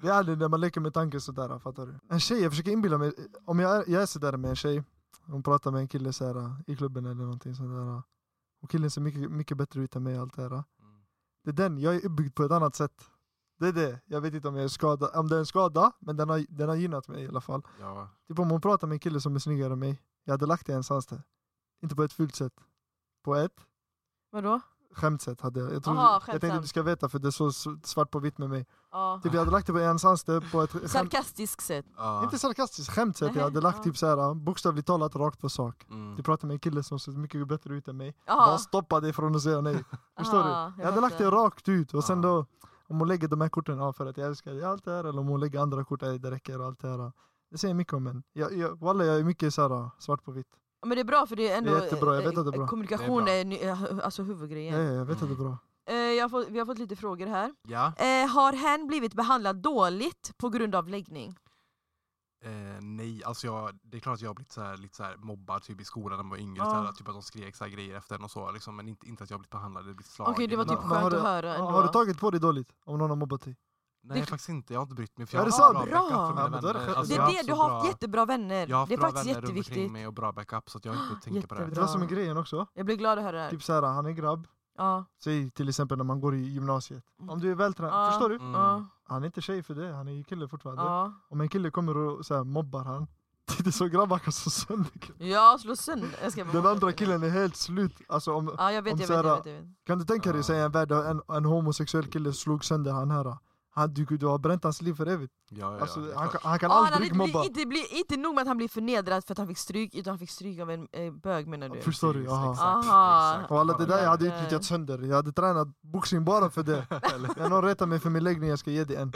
Speaker 2: Det är aldrig när man leker med tanken sådär, fattar du? En tjej, jag försöker inbilla mig, om jag är, jag är sådär med en tjej, hon pratar med en kille såhär, i klubben eller någonting sådär, och killen ser mycket, mycket bättre ut än mig och allt det här.
Speaker 4: Mm.
Speaker 2: Det är den, jag är uppbyggd på ett annat sätt. Det är det, jag vet inte om jag är skadad, om det är en skada, men den har, den har gynnat mig i alla fall.
Speaker 4: Ja,
Speaker 2: Typ om hon pratar med en kille som är snyggare än mig, jag hade lagt det någonstans där. Inte på ett fult sätt. På ett
Speaker 3: Vadå?
Speaker 2: skämtsätt hade jag. Jag, tror,
Speaker 3: Aha,
Speaker 2: jag tänkte
Speaker 3: skämtsamt.
Speaker 2: du ska veta för det är så s- svart på vitt med mig.
Speaker 3: Ja.
Speaker 2: Typ jag hade lagt det på någonstans där på ett skämt,
Speaker 3: Ah. Sarkastiskt sett.
Speaker 4: ja.
Speaker 2: inte sarkastiskt skämtsätt. Jag
Speaker 3: Nähä,
Speaker 2: hade lagt
Speaker 3: ja.
Speaker 2: typ så här bokstavligt talat rakt på sak.
Speaker 4: Mm.
Speaker 2: Du pratar med en kille som ser mycket bättre ut än mig.
Speaker 3: Ja.
Speaker 2: Bara stoppa dig från att säga nej. Förstår du?
Speaker 3: Ja,
Speaker 2: Jag hade lagt det
Speaker 3: fattar.
Speaker 2: rakt ut och sen
Speaker 4: Ja.
Speaker 2: då om hon lägger de här korten, ja för att jag älskar dig, allt det här eller om hon lägger andra kort, nej det räcker och allt det här. Det säger mycket om en. Jag, jag, wallah, jag är mycket så här, äh, svart på vitt.
Speaker 3: Ja, Men det är bra för det är ändå...
Speaker 2: Det är jättebra, jag vet att det är
Speaker 3: eh,
Speaker 2: bra.
Speaker 3: Kommunikation
Speaker 4: Det
Speaker 3: är, ny- eh, alltså huvudgrejen.
Speaker 2: Ja, ja, jag vet att det är bra.
Speaker 3: Eh, jag har fått, vi har fått lite frågor här.
Speaker 4: Ja.
Speaker 3: Eh, har hen blivit behandlad dåligt på grund av läggning?
Speaker 4: Eh, nej, alltså jag, det är klart att jag har blivit så här, lite så här mobbad typ i skolan när man var yngre.
Speaker 3: Ja.
Speaker 4: Så här, typ att de skrek så här grejer efter en och så. Liksom, men inte, inte att jag har blivit behandlad eller blivit slagen.
Speaker 3: Okej det var
Speaker 2: men-
Speaker 3: typ
Speaker 2: men
Speaker 3: skönt
Speaker 2: har
Speaker 3: att
Speaker 2: du-
Speaker 3: höra ändå.
Speaker 2: Ja, har du tagit på dig dåligt om någon har mobbat dig?
Speaker 4: Nej
Speaker 3: Det- typ
Speaker 4: faktiskt inte, jag har inte brytt mig. För
Speaker 2: Är
Speaker 4: jag
Speaker 2: det
Speaker 4: har
Speaker 2: sant?
Speaker 4: bra
Speaker 3: Bra.
Speaker 4: backup för
Speaker 2: Ja,
Speaker 4: mina
Speaker 2: men då är det
Speaker 4: vänner.
Speaker 2: skönt.
Speaker 4: Alltså,
Speaker 3: det
Speaker 4: jag
Speaker 3: är
Speaker 4: har
Speaker 3: det,
Speaker 4: haft
Speaker 3: du
Speaker 4: så
Speaker 3: har haft
Speaker 4: bra-
Speaker 3: jättebra vänner.
Speaker 4: Jag har haft
Speaker 3: Det är
Speaker 4: bra
Speaker 3: faktiskt
Speaker 4: vänner runt omkring
Speaker 3: jätteviktigt.
Speaker 4: mig och bra backup så att jag inte tänker på det.
Speaker 2: Det var som är grejen också.
Speaker 3: Jag blir glad att höra det här.
Speaker 2: Typ såhär, han är grabb.
Speaker 3: Ja.
Speaker 4: Mm.
Speaker 2: Säg till exempel när man går i gymnasiet. Om du är
Speaker 3: Mm. Ja.
Speaker 2: vältränad, förstår du?
Speaker 4: Mm.
Speaker 3: Ja.
Speaker 2: Han är inte tjej för det, han är ju kille fortfarande.
Speaker 3: Ja.
Speaker 2: Om en kille kommer och så här, mobbar han, det är så grabbar kan slå sönder killen.
Speaker 3: Jag slår sönder... Jag ska bara-
Speaker 2: Den andra killen är helt slut. Alltså, om,
Speaker 3: Ja jag vet,
Speaker 2: Om
Speaker 3: jag vet,
Speaker 2: så
Speaker 3: jag
Speaker 2: här-
Speaker 3: vet, jag vet.
Speaker 2: kan du tänka dig
Speaker 4: Ja.
Speaker 2: säga en värld där en, en homosexuell kille slog sönder han här? Han, du, du har bränt hans liv för evigt.
Speaker 4: Ja, ja, det
Speaker 2: Alltså,
Speaker 4: är
Speaker 2: han,
Speaker 4: klart.
Speaker 2: kan- han kan
Speaker 3: Ah, han hade
Speaker 2: aldrig
Speaker 3: inte,
Speaker 2: mobba.
Speaker 3: blivit, inte, blivit, inte nog med att han blev förnedrad för att han fick stryk, utan han fick stryk av en eh, bög menar du?
Speaker 2: Först- Förstår du?
Speaker 4: Precis,
Speaker 2: Aha.
Speaker 4: exakt,
Speaker 3: Aha.
Speaker 4: exakt.
Speaker 2: Och alla det där jag hade
Speaker 3: Nej.
Speaker 2: utnyttjat sönder. Jag hade tränat boxning bara för det. När någon retar mig för min läggning, jag ska ge dig en.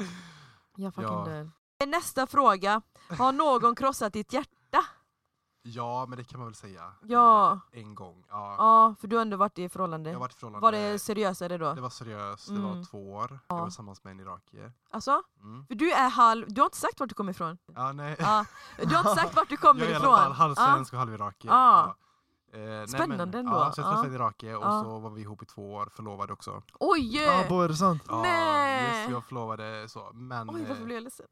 Speaker 3: Jag fucking
Speaker 4: Ja.
Speaker 3: dör. Nästa fråga, har någon krossat ditt hjärta?
Speaker 4: Ja, men det kan man väl säga.
Speaker 3: Ja.
Speaker 4: Eh, En gång. Ja.
Speaker 3: Ja, för du har ändå varit i
Speaker 4: Jag
Speaker 3: förhållande.
Speaker 4: har varit i förhållande.
Speaker 3: Var det seriösare då?
Speaker 4: det var seriöst, det
Speaker 3: Mm.
Speaker 4: var två år.
Speaker 3: Ja.
Speaker 4: Jag var tillsammans med en irakier.
Speaker 3: Alltså,
Speaker 4: Mm.
Speaker 3: för du är halv... Du har inte sagt vart du kommer ifrån.
Speaker 4: Ja, nej.
Speaker 3: Ja. Du har inte sagt vart du kommer
Speaker 4: jag är i
Speaker 3: ifrån.
Speaker 4: alla fall halv
Speaker 3: Ja.
Speaker 4: svensk och halv irakier.
Speaker 3: Ah.
Speaker 4: Ja. Eh, nej,
Speaker 3: Spännande
Speaker 4: men,
Speaker 3: ändå.
Speaker 4: Ja, så jag
Speaker 3: Ah.
Speaker 4: träffade en irakier och
Speaker 3: Ah.
Speaker 4: så var vi ihop i två år, förlovade också.
Speaker 3: Oj! eh.
Speaker 2: Ah, bo, är det sant?
Speaker 4: Ja,
Speaker 3: Nej.
Speaker 4: Just, vi var förlovade så. Men,
Speaker 3: Oj, varför
Speaker 4: eh,
Speaker 3: blev jag ledsen?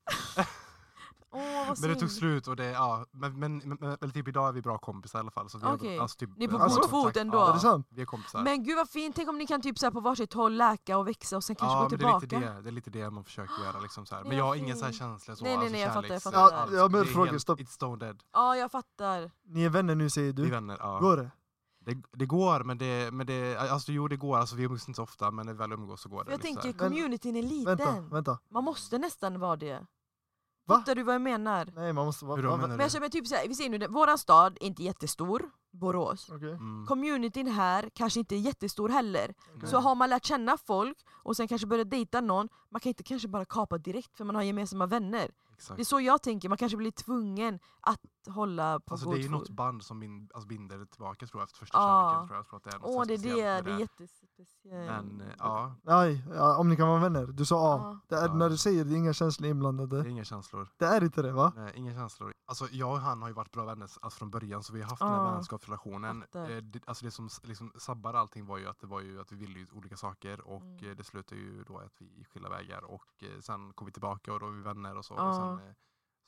Speaker 3: Åh, vad
Speaker 4: men det tog
Speaker 3: synd.
Speaker 4: slut och det, ja, men, men, men, men eller typ idag är vi bra kompisar i alla fall. Så vi
Speaker 3: Okej.
Speaker 4: har, alltså, typ,
Speaker 3: Ni är på
Speaker 4: alltså,
Speaker 3: god fot
Speaker 4: kontakt.
Speaker 3: ändå.
Speaker 4: Ja,
Speaker 2: Är det sant?
Speaker 4: Vi är kompisar.
Speaker 3: Men gud vad fint, tänk om ni kan typ så här på varsitt håll läka och växa och sen kanske gå
Speaker 4: men det, är
Speaker 3: tillbaka.
Speaker 4: lite det, det är lite det man försöker göra. Liksom, så här.
Speaker 3: Det
Speaker 4: Men
Speaker 3: var
Speaker 4: jag har ingen så här
Speaker 3: fint.
Speaker 4: känsla. Så,
Speaker 3: Nej, nej,
Speaker 4: alltså,
Speaker 3: nej, jag fattar, jag
Speaker 4: kärleks-
Speaker 3: fattar.
Speaker 4: alls.
Speaker 2: Ja, ja, men
Speaker 4: Det är
Speaker 2: fråga,
Speaker 4: helt-
Speaker 2: stopp.
Speaker 4: It's stone dead.
Speaker 3: Ja, jag fattar.
Speaker 2: Ni är vänner nu säger
Speaker 4: Vi är
Speaker 2: du?
Speaker 4: vänner. Ja.
Speaker 2: Går det?
Speaker 4: Det, det går, men det, men det, alltså, jo det går. Alltså, vi umgås inte så ofta, men när vi väl umgås så går
Speaker 3: För
Speaker 4: det.
Speaker 3: jag
Speaker 4: liksom, så
Speaker 3: tänker
Speaker 4: här.
Speaker 3: communityn är liten.
Speaker 2: Vänta, vänta.
Speaker 3: Man måste nästan vara det.
Speaker 2: Va?
Speaker 3: Fattar du vad jag menar?
Speaker 2: Nej man måste
Speaker 4: Hur då
Speaker 2: vara...
Speaker 4: menar
Speaker 3: Men jag
Speaker 4: du?
Speaker 3: känner typ så här, vi ser nu, det- våran stad är inte jättestor, Borås.
Speaker 2: Okej.
Speaker 4: Mm.
Speaker 3: Communityn här kanske inte är jättestor heller.
Speaker 4: Nej.
Speaker 3: Så har man lärt känna folk och sen kanske börjat dejta någon, man kan inte kanske bara kapa direkt för man har gemensamma vänner.
Speaker 4: Exakt.
Speaker 3: Det är så jag tänker, man kanske blir tvungen att hålla på
Speaker 4: Alltså,
Speaker 3: god
Speaker 4: det är ju
Speaker 3: fot.
Speaker 4: något band som bin, alltså, binder tillbaka tror jag, efter första
Speaker 3: Ja.
Speaker 4: kärleken. Tror jag, jag tror att det är något
Speaker 3: Åh
Speaker 4: så
Speaker 3: det är
Speaker 4: speciellt
Speaker 3: det,
Speaker 4: med
Speaker 3: det är jättespeciellt.
Speaker 4: Men eh, ja,
Speaker 2: Nej, ja, om ni kan vara vänner. Du sa
Speaker 3: Ja.
Speaker 2: ja. Det är,
Speaker 4: Ja.
Speaker 2: När du säger det är inga känslor
Speaker 4: det är
Speaker 2: inblandade.
Speaker 4: inga känslor.
Speaker 2: Det är inte det va?
Speaker 4: Nej, inga känslor. Alltså jag och han har ju varit bra vänner s- alltså, från början så vi har haft den
Speaker 3: Ja.
Speaker 4: här vänskapsrelationen.
Speaker 3: Fattar.
Speaker 4: Eh, det, alltså det som s- liksom, sabbade allting var ju att det var ju att vi ville ju olika saker och
Speaker 3: Mm.
Speaker 4: eh, det slutade ju då att vi gick skilda vägar och eh, sen kom vi tillbaka och då var vi vänner och så.
Speaker 3: Ja.
Speaker 4: Och sen, eh,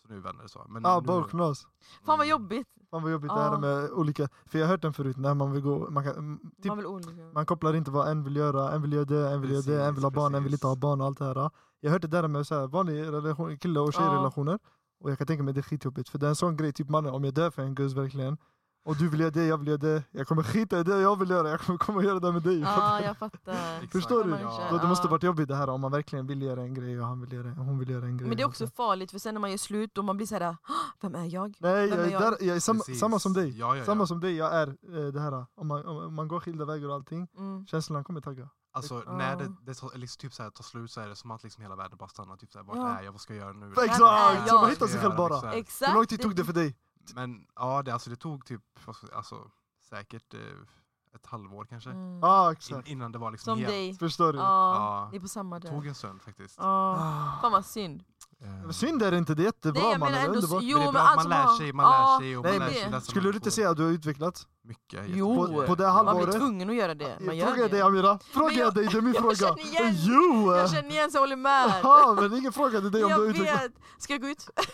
Speaker 4: så nu är vi vänner så. Men
Speaker 2: Ja, ah,
Speaker 4: nu-
Speaker 2: bara knas.
Speaker 3: Fan vad
Speaker 4: Mm.
Speaker 3: jobbigt,
Speaker 2: Fan vad jobbigt det
Speaker 3: Ja.
Speaker 2: här med olika... För jag har hört den förut, när man vill gå... Man, kan, mm, typ,
Speaker 3: man vill olika.
Speaker 2: man kopplar inte vad en vill göra, en vill göra det, en vill göra det, en vill ha barn, en vill inte ha
Speaker 4: Precis,
Speaker 2: barn och allt det här. Jag har hört det där med så här, vanliga relation, kille och
Speaker 3: Ja.
Speaker 2: tjejrelationer. Och jag kan tänka mig det är skitjobbigt. För det är en sån grej, typ mannen, om jag dör för en guzz verkligen. Och du vill göra det, jag vill göra det. Jag kommer skita i det jag vill göra, jag kommer komma och göra det med dig.
Speaker 3: Ja, jag fattar.
Speaker 4: Exakt.
Speaker 2: Förstår du?
Speaker 4: Ja.
Speaker 2: Då, det måste varit jobbigt det här om man verkligen vill göra en grej och han vill göra, hon vill göra en grej.
Speaker 3: Men det är också farligt för sen när man gör slut och man blir så här, "Hå, vem är jag?
Speaker 2: Nej, jag
Speaker 3: Vem är
Speaker 2: är,
Speaker 3: jag?
Speaker 2: där, jag är samma,
Speaker 4: Precis.
Speaker 2: samma som dig.
Speaker 4: Ja, ja, ja.
Speaker 2: Samma som dig, jag är eh, det här. Om man, om man går skilda vägar och allting,
Speaker 3: Mm.
Speaker 2: känslan kommer tagga.
Speaker 4: Alltså
Speaker 3: Ja.
Speaker 4: när det, det tar, liksom, typ så här, tar slut så är det som att liksom hela världen bara stannar. Typ så här, vart
Speaker 3: Ja.
Speaker 4: är jag? Vad ska jag göra nu?
Speaker 2: Exakt!
Speaker 3: Ja.
Speaker 2: Så man
Speaker 4: Vad
Speaker 2: hittar
Speaker 4: ska
Speaker 2: sig
Speaker 4: jag
Speaker 2: själv
Speaker 4: göra,
Speaker 2: bara.
Speaker 4: liksom?
Speaker 3: Exakt.
Speaker 2: Hur lång tid tog det för
Speaker 3: Mm.
Speaker 2: dig?
Speaker 4: Men ja, det, alltså, det tog typ vad ska- alltså, säkert eh, ett halvår kanske.
Speaker 3: Mm.
Speaker 2: Ja, ah,
Speaker 4: In,
Speaker 2: exakt.
Speaker 4: innan det var liksom
Speaker 3: Som
Speaker 4: helt...
Speaker 3: dig.
Speaker 2: Förstår du?
Speaker 3: Mm. Ja,
Speaker 4: Ja.
Speaker 3: det är på samma
Speaker 4: Det
Speaker 3: där.
Speaker 4: tog en stund faktiskt.
Speaker 3: Ja.
Speaker 2: Ah.
Speaker 3: Fan vad synd.
Speaker 4: Eh,
Speaker 2: Men Synd är det inte, det är jättebra
Speaker 3: Nej, jag
Speaker 2: mannen.
Speaker 3: menar
Speaker 2: Det är
Speaker 3: ändå-
Speaker 2: underbart.
Speaker 4: men det är bra att
Speaker 3: allt
Speaker 4: man
Speaker 3: som
Speaker 4: lär
Speaker 3: har-
Speaker 4: sig, man
Speaker 3: alltså, Ja,
Speaker 4: lär sig och
Speaker 2: Nej,
Speaker 4: man
Speaker 3: men-
Speaker 4: lär sig läsa
Speaker 2: Skulle du inte
Speaker 4: människor.
Speaker 2: säga att du har utvecklats?
Speaker 4: Mycket,
Speaker 3: Jo.
Speaker 2: På,
Speaker 4: jättemycket.
Speaker 2: på det
Speaker 3: Man blir
Speaker 2: halvåret?
Speaker 3: tvungen att göra det. Man
Speaker 2: Fråga
Speaker 3: gör
Speaker 2: dig
Speaker 3: det.
Speaker 2: Amira, fråga
Speaker 3: Men jag-
Speaker 2: dig, det är min
Speaker 3: jag
Speaker 2: fråga!
Speaker 3: känner igen-
Speaker 2: Jo!
Speaker 3: Jag känner igen så jag håller med.
Speaker 2: Jaha, men ingen frågade dig om du har
Speaker 3: Jag
Speaker 2: utvecklats?
Speaker 3: vet. Ska jag gå ut?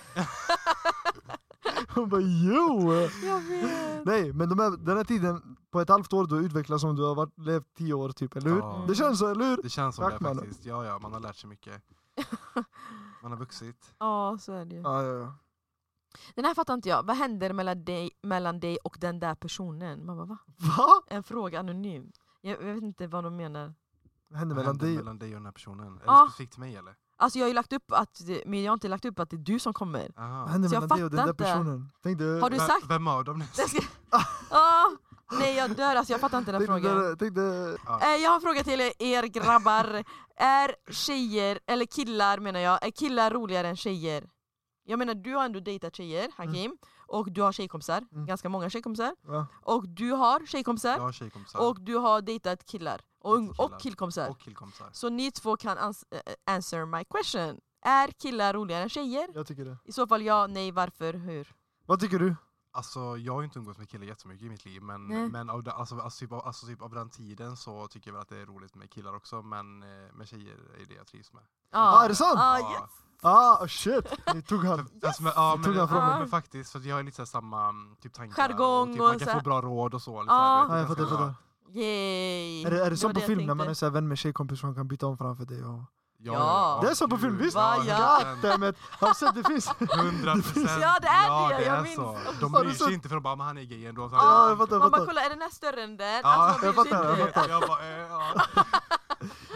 Speaker 2: Hon bara jo!
Speaker 3: Jag vet.
Speaker 2: Nej, men de här, den här tiden, på ett halvt år du har utvecklats som du har varit, levt tio år typ, eller hur?
Speaker 4: Ja.
Speaker 2: Det känns så, eller hur?
Speaker 4: Det känns som
Speaker 2: Tack,
Speaker 4: det
Speaker 2: mannen.
Speaker 4: faktiskt. Ja, ja, man har lärt sig mycket. Man har vuxit.
Speaker 3: Ja, så är det ju.
Speaker 2: Ja, ja, ja.
Speaker 3: Den här fattar inte jag. Vad händer mellan dig, mellan dig och den där personen? Man bara, va?
Speaker 2: Va?
Speaker 3: En fråga anonymt. Jag, jag vet inte vad de menar.
Speaker 2: Vad hände
Speaker 4: Vad
Speaker 2: mellan
Speaker 4: hände
Speaker 2: dig?
Speaker 4: mellan dig och den här personen? Är
Speaker 3: Ja.
Speaker 4: det specifikt till mig eller?
Speaker 3: Alltså jag har ju lagt upp att, det- men jag har inte lagt upp att det är du som kommer.
Speaker 4: Aha.
Speaker 2: Vad hände
Speaker 3: Så jag
Speaker 2: mellan dig och den där
Speaker 3: fattar inte.
Speaker 2: personen? Tänk dig,
Speaker 3: Har du
Speaker 4: Vem-
Speaker 3: sagt?
Speaker 4: Vem av dem?
Speaker 3: Jag ska... ah, nej jag dör alltså, jag fattar inte den
Speaker 2: tänk dig,
Speaker 3: frågan.
Speaker 2: där- tänk dig,
Speaker 3: Eh, jag har en fråga till er, er grabbar. är tjejer, eller killar menar jag, är killar roligare än tjejer? Jag menar du har ändå dejtat tjejer, Hakim, och du har tjejkompisar,
Speaker 2: Mm.
Speaker 3: ganska många tjejkompisar.
Speaker 2: va?
Speaker 3: Och du har tjejkompisar,
Speaker 4: Jag har tjejkompisar.
Speaker 3: och du har dejtat killar. Och,
Speaker 4: Dejtat killar.
Speaker 3: och killkompisar.
Speaker 4: och killkompisar.
Speaker 3: Så ni två kan ans- eh, answer my question. Är killar roligare än tjejer?
Speaker 2: jag tycker det.
Speaker 3: I så fall ja, nej, varför, hur?
Speaker 2: Vad tycker du?
Speaker 4: Alltså jag har ju inte umgåtts med killar jättemycket i mitt liv men,
Speaker 3: Nej.
Speaker 4: men av, de- alltså, alltså, typ, av- alltså typ av den tiden så tycker jag väl att det är roligt med killar också men eh, med tjejer är det jag trivs med.
Speaker 2: Ah, är det sant?
Speaker 3: Ah,
Speaker 4: Ja.
Speaker 3: yes.
Speaker 2: Ah shit! Ni tog han.
Speaker 4: För- Alltså, men, ja,
Speaker 2: Du
Speaker 4: men,
Speaker 2: tog den
Speaker 4: ja,
Speaker 2: frågan.
Speaker 4: men faktiskt, för att jag har lite så här samma mm, typ, tankar
Speaker 3: Jargong
Speaker 4: och, typ,
Speaker 3: och
Speaker 4: man
Speaker 3: så
Speaker 4: kan
Speaker 3: här-
Speaker 4: få bra råd och så. Eller,
Speaker 3: Ja.
Speaker 4: så
Speaker 2: Ah,
Speaker 4: här,
Speaker 2: jag
Speaker 4: vet du,
Speaker 2: fattar, jag
Speaker 4: ganska bra.
Speaker 2: fattar.
Speaker 3: Yay!
Speaker 2: Är det, är det
Speaker 3: var
Speaker 2: som på
Speaker 3: jag
Speaker 2: film när
Speaker 3: tänkte.
Speaker 2: man är så här vän med tjejkompis som kan byta om framför dig? Och...
Speaker 4: Ja,
Speaker 3: Ja.
Speaker 2: Det är så på film, visst?
Speaker 3: Va, ja.
Speaker 2: Goddammit! Har du sett? Det finns...
Speaker 4: Hundra procent!
Speaker 3: Ja, det är det, jag minns
Speaker 4: så. De
Speaker 2: Har du
Speaker 4: bryr
Speaker 2: sett-
Speaker 4: sig inte för de bara, men han är gay ändå. Så
Speaker 3: Ja,
Speaker 4: han-
Speaker 2: jag fattar, jag
Speaker 3: Man bara
Speaker 2: fattar.
Speaker 3: kolla, är den här större än den?
Speaker 4: Ja,
Speaker 3: Alltså, man
Speaker 2: jag
Speaker 3: bryr sig
Speaker 2: fattar, jag
Speaker 3: inte.
Speaker 2: fattar.
Speaker 4: Jag bara, eh, ja.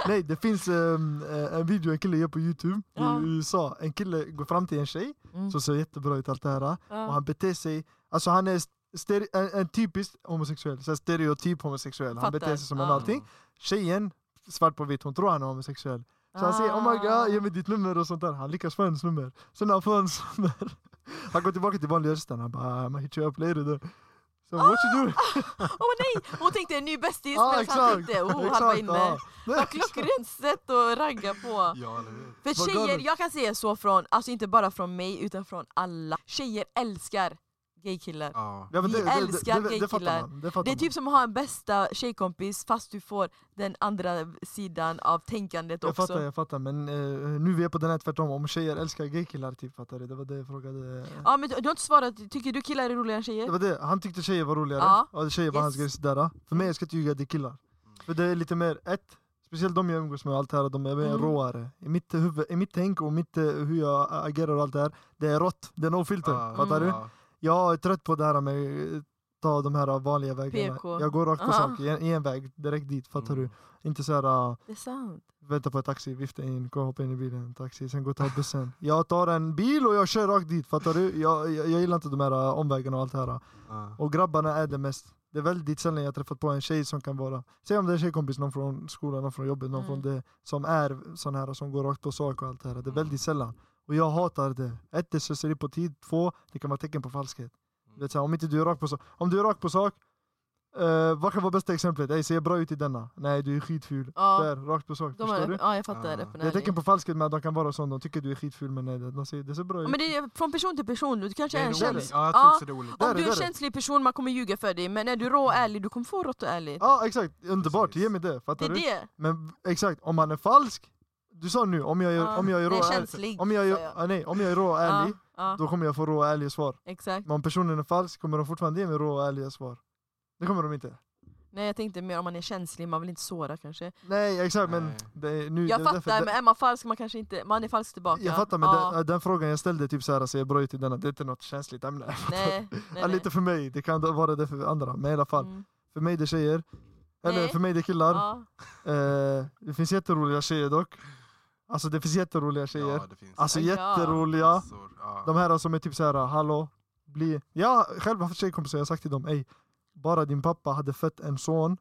Speaker 2: Nej, det finns ehm, eh, en video en kille gör på Youtube
Speaker 3: Ja.
Speaker 2: i USA. En kille går fram till en tjej
Speaker 3: Mm.
Speaker 2: som ser jättebra ut allt det här och
Speaker 3: Ja.
Speaker 2: han beter sig, alltså han är stere- en, en typisk homosexuell, så här stereotyp homosexuell. Han
Speaker 3: Fattar,
Speaker 2: beter sig som
Speaker 3: ja.
Speaker 2: en allting. Tjejen, svart på vitt, hon tror han är homosexuell. Så han säger
Speaker 3: Ah.
Speaker 2: oh my god, ge mig ditt nummer och sånt där. Han lyckas få hennes nummer. Sen när han får hennes nummer, han går tillbaka till vanliga rösten. Han bara I'm gonna hit you up later then. So what
Speaker 3: Ah!
Speaker 2: you doing?
Speaker 3: Åh nej! Hon tänkte en ny bästis
Speaker 2: Ja,
Speaker 3: medan han
Speaker 2: exakt.
Speaker 3: tänkte oh, han var
Speaker 2: Exakt,
Speaker 3: inne.
Speaker 2: ja.
Speaker 3: Vad klockrent sätt att ragga på.
Speaker 4: ja eller hur?
Speaker 3: För
Speaker 2: Vad
Speaker 3: tjejer,
Speaker 2: galet.
Speaker 3: jag kan säga så från, alltså inte bara från mig utan från alla. Tjejer älskar gaykillar.
Speaker 4: Ja.
Speaker 2: Ja, men
Speaker 3: Vi älskar
Speaker 2: det, det, det
Speaker 3: gaykillar.
Speaker 2: fattar man. Det, fattar
Speaker 3: Det är
Speaker 2: man.
Speaker 3: typ som att ha en bästa tjejkompis fast du får den andra sidan av tänkandet
Speaker 2: jag
Speaker 3: också.
Speaker 2: fattar, jag fattar. Men eh, nu vi är på den här tvärtom, om tjejer älskar gaykillar typ, fattar du? Det var det jag frågade.
Speaker 3: Ja men du, du har inte svarat, tycker du killar är roligare än
Speaker 2: Det
Speaker 3: tjejer?
Speaker 2: var det, han tyckte tjejer var roligare,
Speaker 3: Ja.
Speaker 2: och tjejer var
Speaker 3: Yes.
Speaker 2: hans grej sådär. För mig, jag ska inte ljuga, det är killar. För det är lite mer, ett, speciellt de jag umgås med och allt det här, de är mer
Speaker 3: Mm.
Speaker 2: råare. I mitt huvud, i mitt tänk och mitt, eh, hur jag agerar och allt det här, det är rått, det är no filter.
Speaker 4: Ja,
Speaker 2: Fattar du?
Speaker 4: Mm. ja.
Speaker 2: Jag är trött på det här med eh, ta de här vanliga vägarna.
Speaker 3: PK.
Speaker 2: Jag går rakt på
Speaker 3: Ja.
Speaker 2: sak, i en, i en väg, direkt dit, fattar
Speaker 4: Mm.
Speaker 2: du? Inte ah, såhär,
Speaker 3: Det är sant.
Speaker 2: vänta på en taxi, vifta in, gå och hoppa in i bilen, taxi, sen gå och ta bussen. Jag tar en bil och jag kör rakt dit, fattar du? Jag, jag, jag gillar inte de här eh, omvägarna och allt det här.
Speaker 4: Ja.
Speaker 2: Och grabbarna är det mest. Det är väldigt sällan jag träffat på en tjej som kan vara, säg om det är en tjejkompis, någon från skolan, någon från jobbet, någon från
Speaker 3: Mm.
Speaker 2: det, som är sån här som går rakt på sak och allt det här. Det är
Speaker 4: Mm.
Speaker 2: väldigt sällan. Och jag hatar det. Ett, det är slöseri på tid. Två, det kan vara tecken på falskhet.
Speaker 3: Mm.
Speaker 2: Du Vet, så här, om inte du är rakt på sak. Om du är rakt på sak, eh, vad kan vara bästa exemplet? Ej, ser bra ut i denna? Nej, du är skitful.
Speaker 3: Ja,
Speaker 2: Där, rakt på sak.
Speaker 3: de
Speaker 2: förstår
Speaker 3: är,
Speaker 2: du? Ah.
Speaker 3: ja jag fattar.
Speaker 4: Ja.
Speaker 3: öppen och
Speaker 2: Det är
Speaker 3: ärlig.
Speaker 2: tecken på falskhet med att de kan vara sån. De tycker du är skitful, men nej, de säger det ser bra
Speaker 3: Ja,
Speaker 2: ut.
Speaker 3: Men det är från person till person, du kanske
Speaker 4: Det
Speaker 3: är
Speaker 4: är
Speaker 3: en
Speaker 2: roligt.
Speaker 3: känslig...
Speaker 4: olika. Ja, jag
Speaker 3: Ja.
Speaker 4: tror också det är olika.
Speaker 2: Där är
Speaker 3: Om du
Speaker 2: det,
Speaker 3: är en
Speaker 2: där är det.
Speaker 3: känslig person, man kommer ljuga för dig, men är du rå och ärlig, du kommer få rått och ärligt.
Speaker 2: Ja, exakt. Underbart.
Speaker 4: Precis.
Speaker 2: Ge mig det.
Speaker 3: Det
Speaker 2: Fattar
Speaker 3: är
Speaker 2: du?
Speaker 3: det.
Speaker 2: Men exakt, om han är falsk, du sa nu, om jag är,
Speaker 3: Ja,
Speaker 2: om jag är rå
Speaker 3: nej,
Speaker 2: och ärlig,
Speaker 3: känslig,
Speaker 2: om jag
Speaker 3: sa
Speaker 2: är,
Speaker 3: jag.
Speaker 2: ah, nej, om jag är rå och
Speaker 3: Ja,
Speaker 2: ärlig,
Speaker 3: ja,
Speaker 2: då kommer jag få rå och ärliga svar.
Speaker 3: exakt.
Speaker 2: Men om personen är falsk kommer de fortfarande ge mig rå och ärliga svar. Det kommer de inte.
Speaker 3: Nej jag tänkte mer om man är känslig, man vill inte såra kanske.
Speaker 2: Nej exakt men
Speaker 4: Nej.
Speaker 2: det, är- nu,
Speaker 3: Jag
Speaker 2: det, är därför-
Speaker 3: fattar, men är man falsk man kanske inte, man är falsk tillbaka.
Speaker 2: Jag fattar men
Speaker 3: Ja,
Speaker 2: den, den frågan jag ställde, typ såhär, säger Broy till denna, det är inte något känsligt ämne.
Speaker 3: nej, nej, nej.
Speaker 2: Lite för mig, det kan vara det för andra. Men i alla fall,
Speaker 3: Mm.
Speaker 2: för mig det är tjejer. Eller
Speaker 3: Nej.
Speaker 2: för mig det är killar.
Speaker 3: Ja.
Speaker 2: Eh, det finns jätteroliga tjejer dock. Alltså det finns jätteroliga tjejer.
Speaker 4: Ja, det finns.
Speaker 2: Alltså
Speaker 3: Ja.
Speaker 2: jätteroliga.
Speaker 4: massor. Ja.
Speaker 2: De här som är typ såhär, hallå, bli... Jag har själv haft tjejkompisar, jag har sagt till dem, ej, bara din pappa hade fött en son.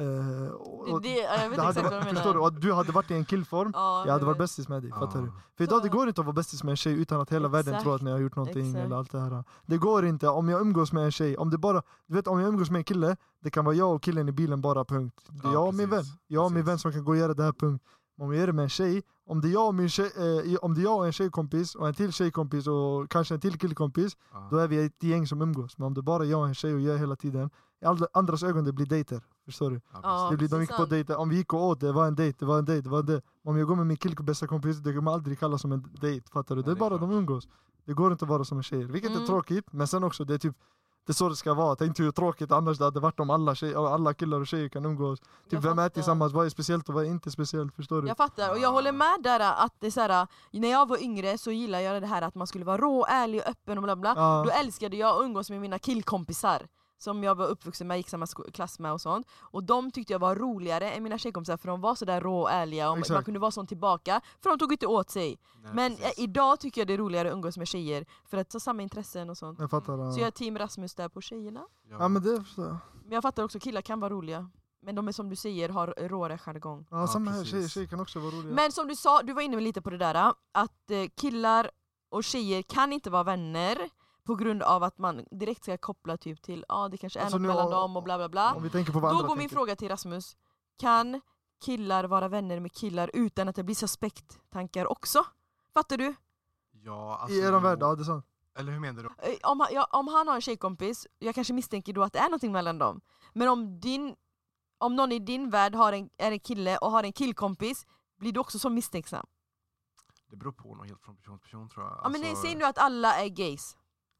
Speaker 2: Eh, och,
Speaker 3: Det,
Speaker 2: och,
Speaker 3: det, ja, jag vet
Speaker 2: det
Speaker 3: exakt
Speaker 2: hade,
Speaker 3: vad du
Speaker 2: varit- förstår du?
Speaker 3: menar.
Speaker 2: Och du hade varit i en killform,
Speaker 3: Ja,
Speaker 2: jag hade varit
Speaker 3: vet.
Speaker 2: bästis med dig,
Speaker 4: Ja.
Speaker 2: fattar du? För idag det går inte att vara bästis med en tjej utan att hela världen tror att ni har gjort någonting
Speaker 3: Exakt.
Speaker 2: eller allt det här. Det går inte om jag umgås med en tjej, om det bara, du vet om jag umgås med en kille, det kan vara jag och killen i bilen bara punkt. Det är
Speaker 4: Ja,
Speaker 2: jag och min vän,
Speaker 4: precis.
Speaker 2: jag och min
Speaker 4: Precis.
Speaker 2: vän som kan gå och göra det här punkt. Men Om jag gör det med en tjej, om det är jag och, min tjej, eh, om det är jag och en tjejkompis och en till tjejkompis och kanske en till killkompis,
Speaker 4: Ja.
Speaker 2: då är vi ett gäng som umgås. Men om det bara är jag och en tjej och gör hela tiden, i alla- andras ögon det blir dejter. Förstår du?
Speaker 3: Ja,
Speaker 2: det blir, de
Speaker 3: precis
Speaker 2: gick på
Speaker 3: sant.
Speaker 2: dejter, om vi gick och åt, det var en dejt, det var en dejt, det var en dejt. Om jag går med min kille bästa kompis, det kommer aldrig kallas som en dejt, fattar du?
Speaker 4: Nej,
Speaker 2: det är
Speaker 4: det är
Speaker 2: bara de
Speaker 4: klart.
Speaker 2: umgås. Det går inte att vara som en tjejer, vilket är
Speaker 3: Mm.
Speaker 2: tråkigt, men sen också, det är typ det är så det ska vara, tänk hur tråkigt annars det hade varit om alla, tjej, alla killar och tjejer kan umgås.
Speaker 3: Jag
Speaker 2: Typ vem är
Speaker 3: fattar.
Speaker 2: tillsammans, vad är speciellt och vad är inte speciellt, förstår du?
Speaker 3: Jag fattar, och jag håller med där att det är så här, när jag var yngre så gillade jag det här att man skulle vara rå, ärlig och öppen och bla bla.
Speaker 2: Ja.
Speaker 3: Då älskade jag att umgås med mina killkompisar som jag var uppvuxen med, gick samma sko- klass med och sånt. Och de tyckte jag var roligare än mina tjejkompisar för de var sådär rå och ärliga och
Speaker 2: Exakt.
Speaker 3: man kunde vara sån tillbaka för de tog inte åt sig.
Speaker 4: Nej,
Speaker 3: Men
Speaker 4: precis.
Speaker 3: eh, idag tycker jag det är roligare att umgås med tjejer för att ha samma intressen och sånt.
Speaker 2: Jag fattar. Ja.
Speaker 3: Så jag är team Rasmus där på tjejerna.
Speaker 4: Ja.
Speaker 2: ja men det förstår jag.
Speaker 3: Men jag fattar också, killar kan vara roliga. Men de är som du säger, har råare jargong.
Speaker 2: Ja,
Speaker 4: Ja,
Speaker 2: samma här,
Speaker 4: precis.
Speaker 2: tjejer, tjejer kan också vara roliga.
Speaker 3: Men som du sa, du var inne lite på det där, att eh, killar och tjejer kan inte vara vänner på grund av att man direkt ska koppla typ till ja ah, det kanske är
Speaker 2: Alltså,
Speaker 3: något
Speaker 2: nu
Speaker 3: mellan
Speaker 2: har-
Speaker 3: dem och bla bla bla.
Speaker 2: om vi tänker på vad
Speaker 3: Då
Speaker 2: andra
Speaker 3: går min
Speaker 2: tänker.
Speaker 3: fråga till Rasmus, kan killar vara vänner med killar utan att det blir suspekttankar också? Fattar du?
Speaker 4: ja, alltså,
Speaker 2: I eran
Speaker 4: jo.
Speaker 2: värld, ja det är sant.
Speaker 4: Eller hur menar du?
Speaker 3: Eh, Om, han- ja, om han har en tjejkompis, jag kanske misstänker då att det är någonting mellan dem. Men om, din, om någon i din värld har en, är en kille och har en killkompis, blir du också så misstänksam?
Speaker 4: Det beror på nog helt från person till person tror jag.
Speaker 3: Ja, men nej,
Speaker 4: Alltså,
Speaker 3: säg nu att alla är gays.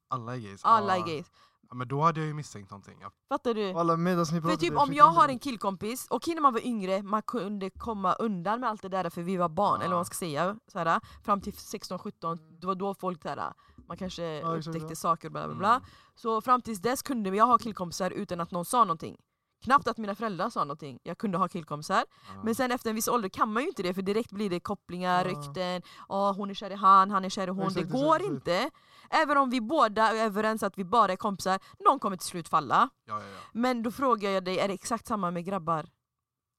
Speaker 4: Alla är gays.
Speaker 3: Alla är
Speaker 4: Ja.
Speaker 3: gays.
Speaker 4: Ja, men då hade jag ju misstänkt någonting. Ja,
Speaker 3: Fattar du?
Speaker 2: Och Alla medans ni
Speaker 3: För
Speaker 2: pratar,
Speaker 3: typ
Speaker 2: jag
Speaker 3: om
Speaker 2: försöker
Speaker 3: jag
Speaker 2: tänka
Speaker 3: har
Speaker 2: på-
Speaker 3: en killkompis, och när man var yngre man kunde komma undan med allt det där för vi var barn,
Speaker 4: Ja.
Speaker 3: eller vad man ska säga. Såhär, fram till 16-17, det var då folk såhär, man kanske
Speaker 2: exakt,
Speaker 3: upptäckte
Speaker 2: ja.
Speaker 3: saker bla bla bla. Så fram tills dess kunde jag ha killkompisar utan att någon sa någonting. Knappt att mina föräldrar sa någonting, jag kunde ha killkompisar.
Speaker 4: ja.
Speaker 3: Men sen efter en viss ålder kan man ju inte det för direkt blir det kopplingar,
Speaker 2: Ja.
Speaker 3: rykten, ja hon är kär i han, han är kär i hon.
Speaker 2: Exakt,
Speaker 3: det
Speaker 2: exakt,
Speaker 3: går
Speaker 2: exakt.
Speaker 3: inte. Även om vi båda är överens att vi bara är kompisar, någon kommer till slut falla.
Speaker 4: ja, ja, ja.
Speaker 3: Men då frågar jag dig, är det exakt samma med grabbar?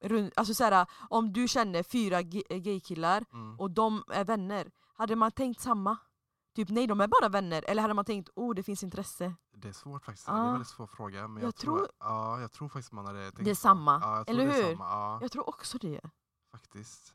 Speaker 3: Rund- Alltså så här, om du känner fyra ge- eh, gaykillar
Speaker 4: Mm.
Speaker 3: och de är vänner, hade man tänkt samma? Typ nej, de är bara vänner. Eller hade man tänkt, oh det finns intresse.
Speaker 4: Det är svårt faktiskt. Det är
Speaker 3: Ja.
Speaker 4: en väldigt svår fråga. Men jag,
Speaker 3: Jag tror-
Speaker 4: Ja, jag tror faktiskt man hade tänkt
Speaker 3: Det är
Speaker 4: så.
Speaker 3: samma,
Speaker 4: Ja, jag tror
Speaker 3: eller
Speaker 4: det är
Speaker 3: hur?
Speaker 4: Samma. Ja,
Speaker 3: Jag tror också det.
Speaker 4: faktiskt.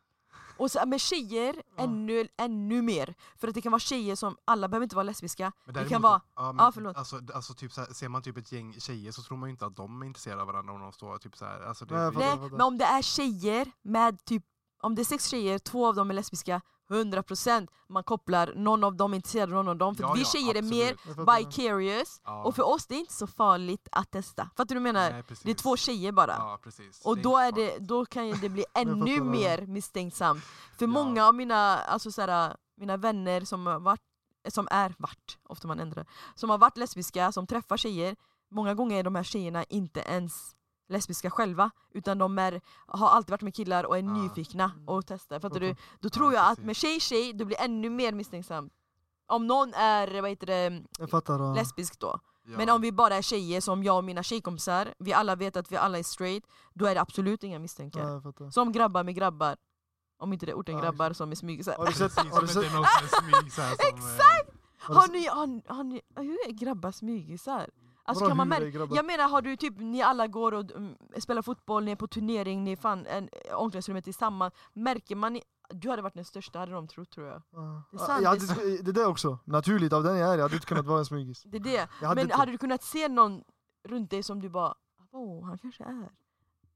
Speaker 3: Och så, med tjejer,
Speaker 2: Ja.
Speaker 3: ännu, ännu mer. För att det kan vara tjejer som, alla behöver inte vara lesbiska.
Speaker 4: Men
Speaker 3: det kan
Speaker 4: däremot-
Speaker 3: vara,
Speaker 4: Ja,
Speaker 3: ja, förlåt.
Speaker 4: Alltså, d- alltså typ så här, ser man typ ett gäng tjejer så tror man ju inte att de är intresserade av varandra om de står typ så här. Alltså, det,
Speaker 2: Nej, jag
Speaker 4: det-
Speaker 2: fattar.
Speaker 3: nej, men om det är tjejer med typ, om det är sex tjejer, två av dem är lesbiska, 100% man kopplar, någon av dem är intresserad av någon av dem. För
Speaker 4: Ja,
Speaker 3: vi
Speaker 4: ja,
Speaker 3: tjejer är mer
Speaker 4: absolut.
Speaker 2: Jag fattar.
Speaker 3: Bicarious,
Speaker 4: Ja.
Speaker 3: och för oss det är inte så farligt att testa. Fattar du vad jag menar?
Speaker 4: Nej,
Speaker 3: det är
Speaker 4: precis.
Speaker 3: två tjejer bara.
Speaker 4: Ja, precis.
Speaker 3: Och
Speaker 4: Det
Speaker 3: då, är
Speaker 4: inte
Speaker 3: det, då kan ju det bli
Speaker 2: jag fattar
Speaker 3: ännu
Speaker 2: vad-
Speaker 3: mer misstänksamt. För många av mina, alltså, såhär, mina vänner som har varit, som är vart, ofta man ändrar, som har varit lesbiska, som träffar tjejer, många gånger är de här tjejerna inte ens lesbiska själva, utan de är, har alltid varit med killar och är nyfikna och testar. Fattar du? Då tror jag att med tjej-tjej, du blir ännu mer misstänksam. Om någon är, vad heter det,
Speaker 2: Jag fattar. ja.
Speaker 3: lesbisk då.
Speaker 4: Ja.
Speaker 3: Men om vi bara är tjejer som jag och mina tjejkompisar, vi alla vet att vi alla är straight, då är det absolut inga misstankar.
Speaker 2: Ja, jag fattar.
Speaker 3: Som grabbar med grabbar. Om inte det är orten
Speaker 2: Ja,
Speaker 3: grabbar som är smyg. Så här.
Speaker 2: Har du sett,
Speaker 4: Precis,
Speaker 2: har du
Speaker 4: som
Speaker 2: sett,
Speaker 4: inte är någon som är smyg så här som, eh,
Speaker 2: du
Speaker 3: Har
Speaker 2: sett-
Speaker 3: ni, har, ni- har ni, hur är grabbar smygisar? Alltså
Speaker 2: Vadå,
Speaker 3: kan man
Speaker 2: hur är
Speaker 3: märka?
Speaker 2: grabbar?
Speaker 3: Jag menar har du typ, ni alla går och mm, spelar fotboll, ni är på turnering, ni är fan en, omklädningsrummet tillsammans. Märker man, i- du hade varit den största hade de trott tror jag.
Speaker 2: Ah. Ja.
Speaker 3: Det är sant,
Speaker 2: Jag
Speaker 3: det är
Speaker 2: hade, det där också, naturligt av den jag är, jag hade inte kunnat vara en smygis.
Speaker 3: Det är det.
Speaker 2: Jag hade
Speaker 3: Men
Speaker 2: inte-
Speaker 3: hade du kunnat se någon runt dig som du bara, åh han kanske är. Nej,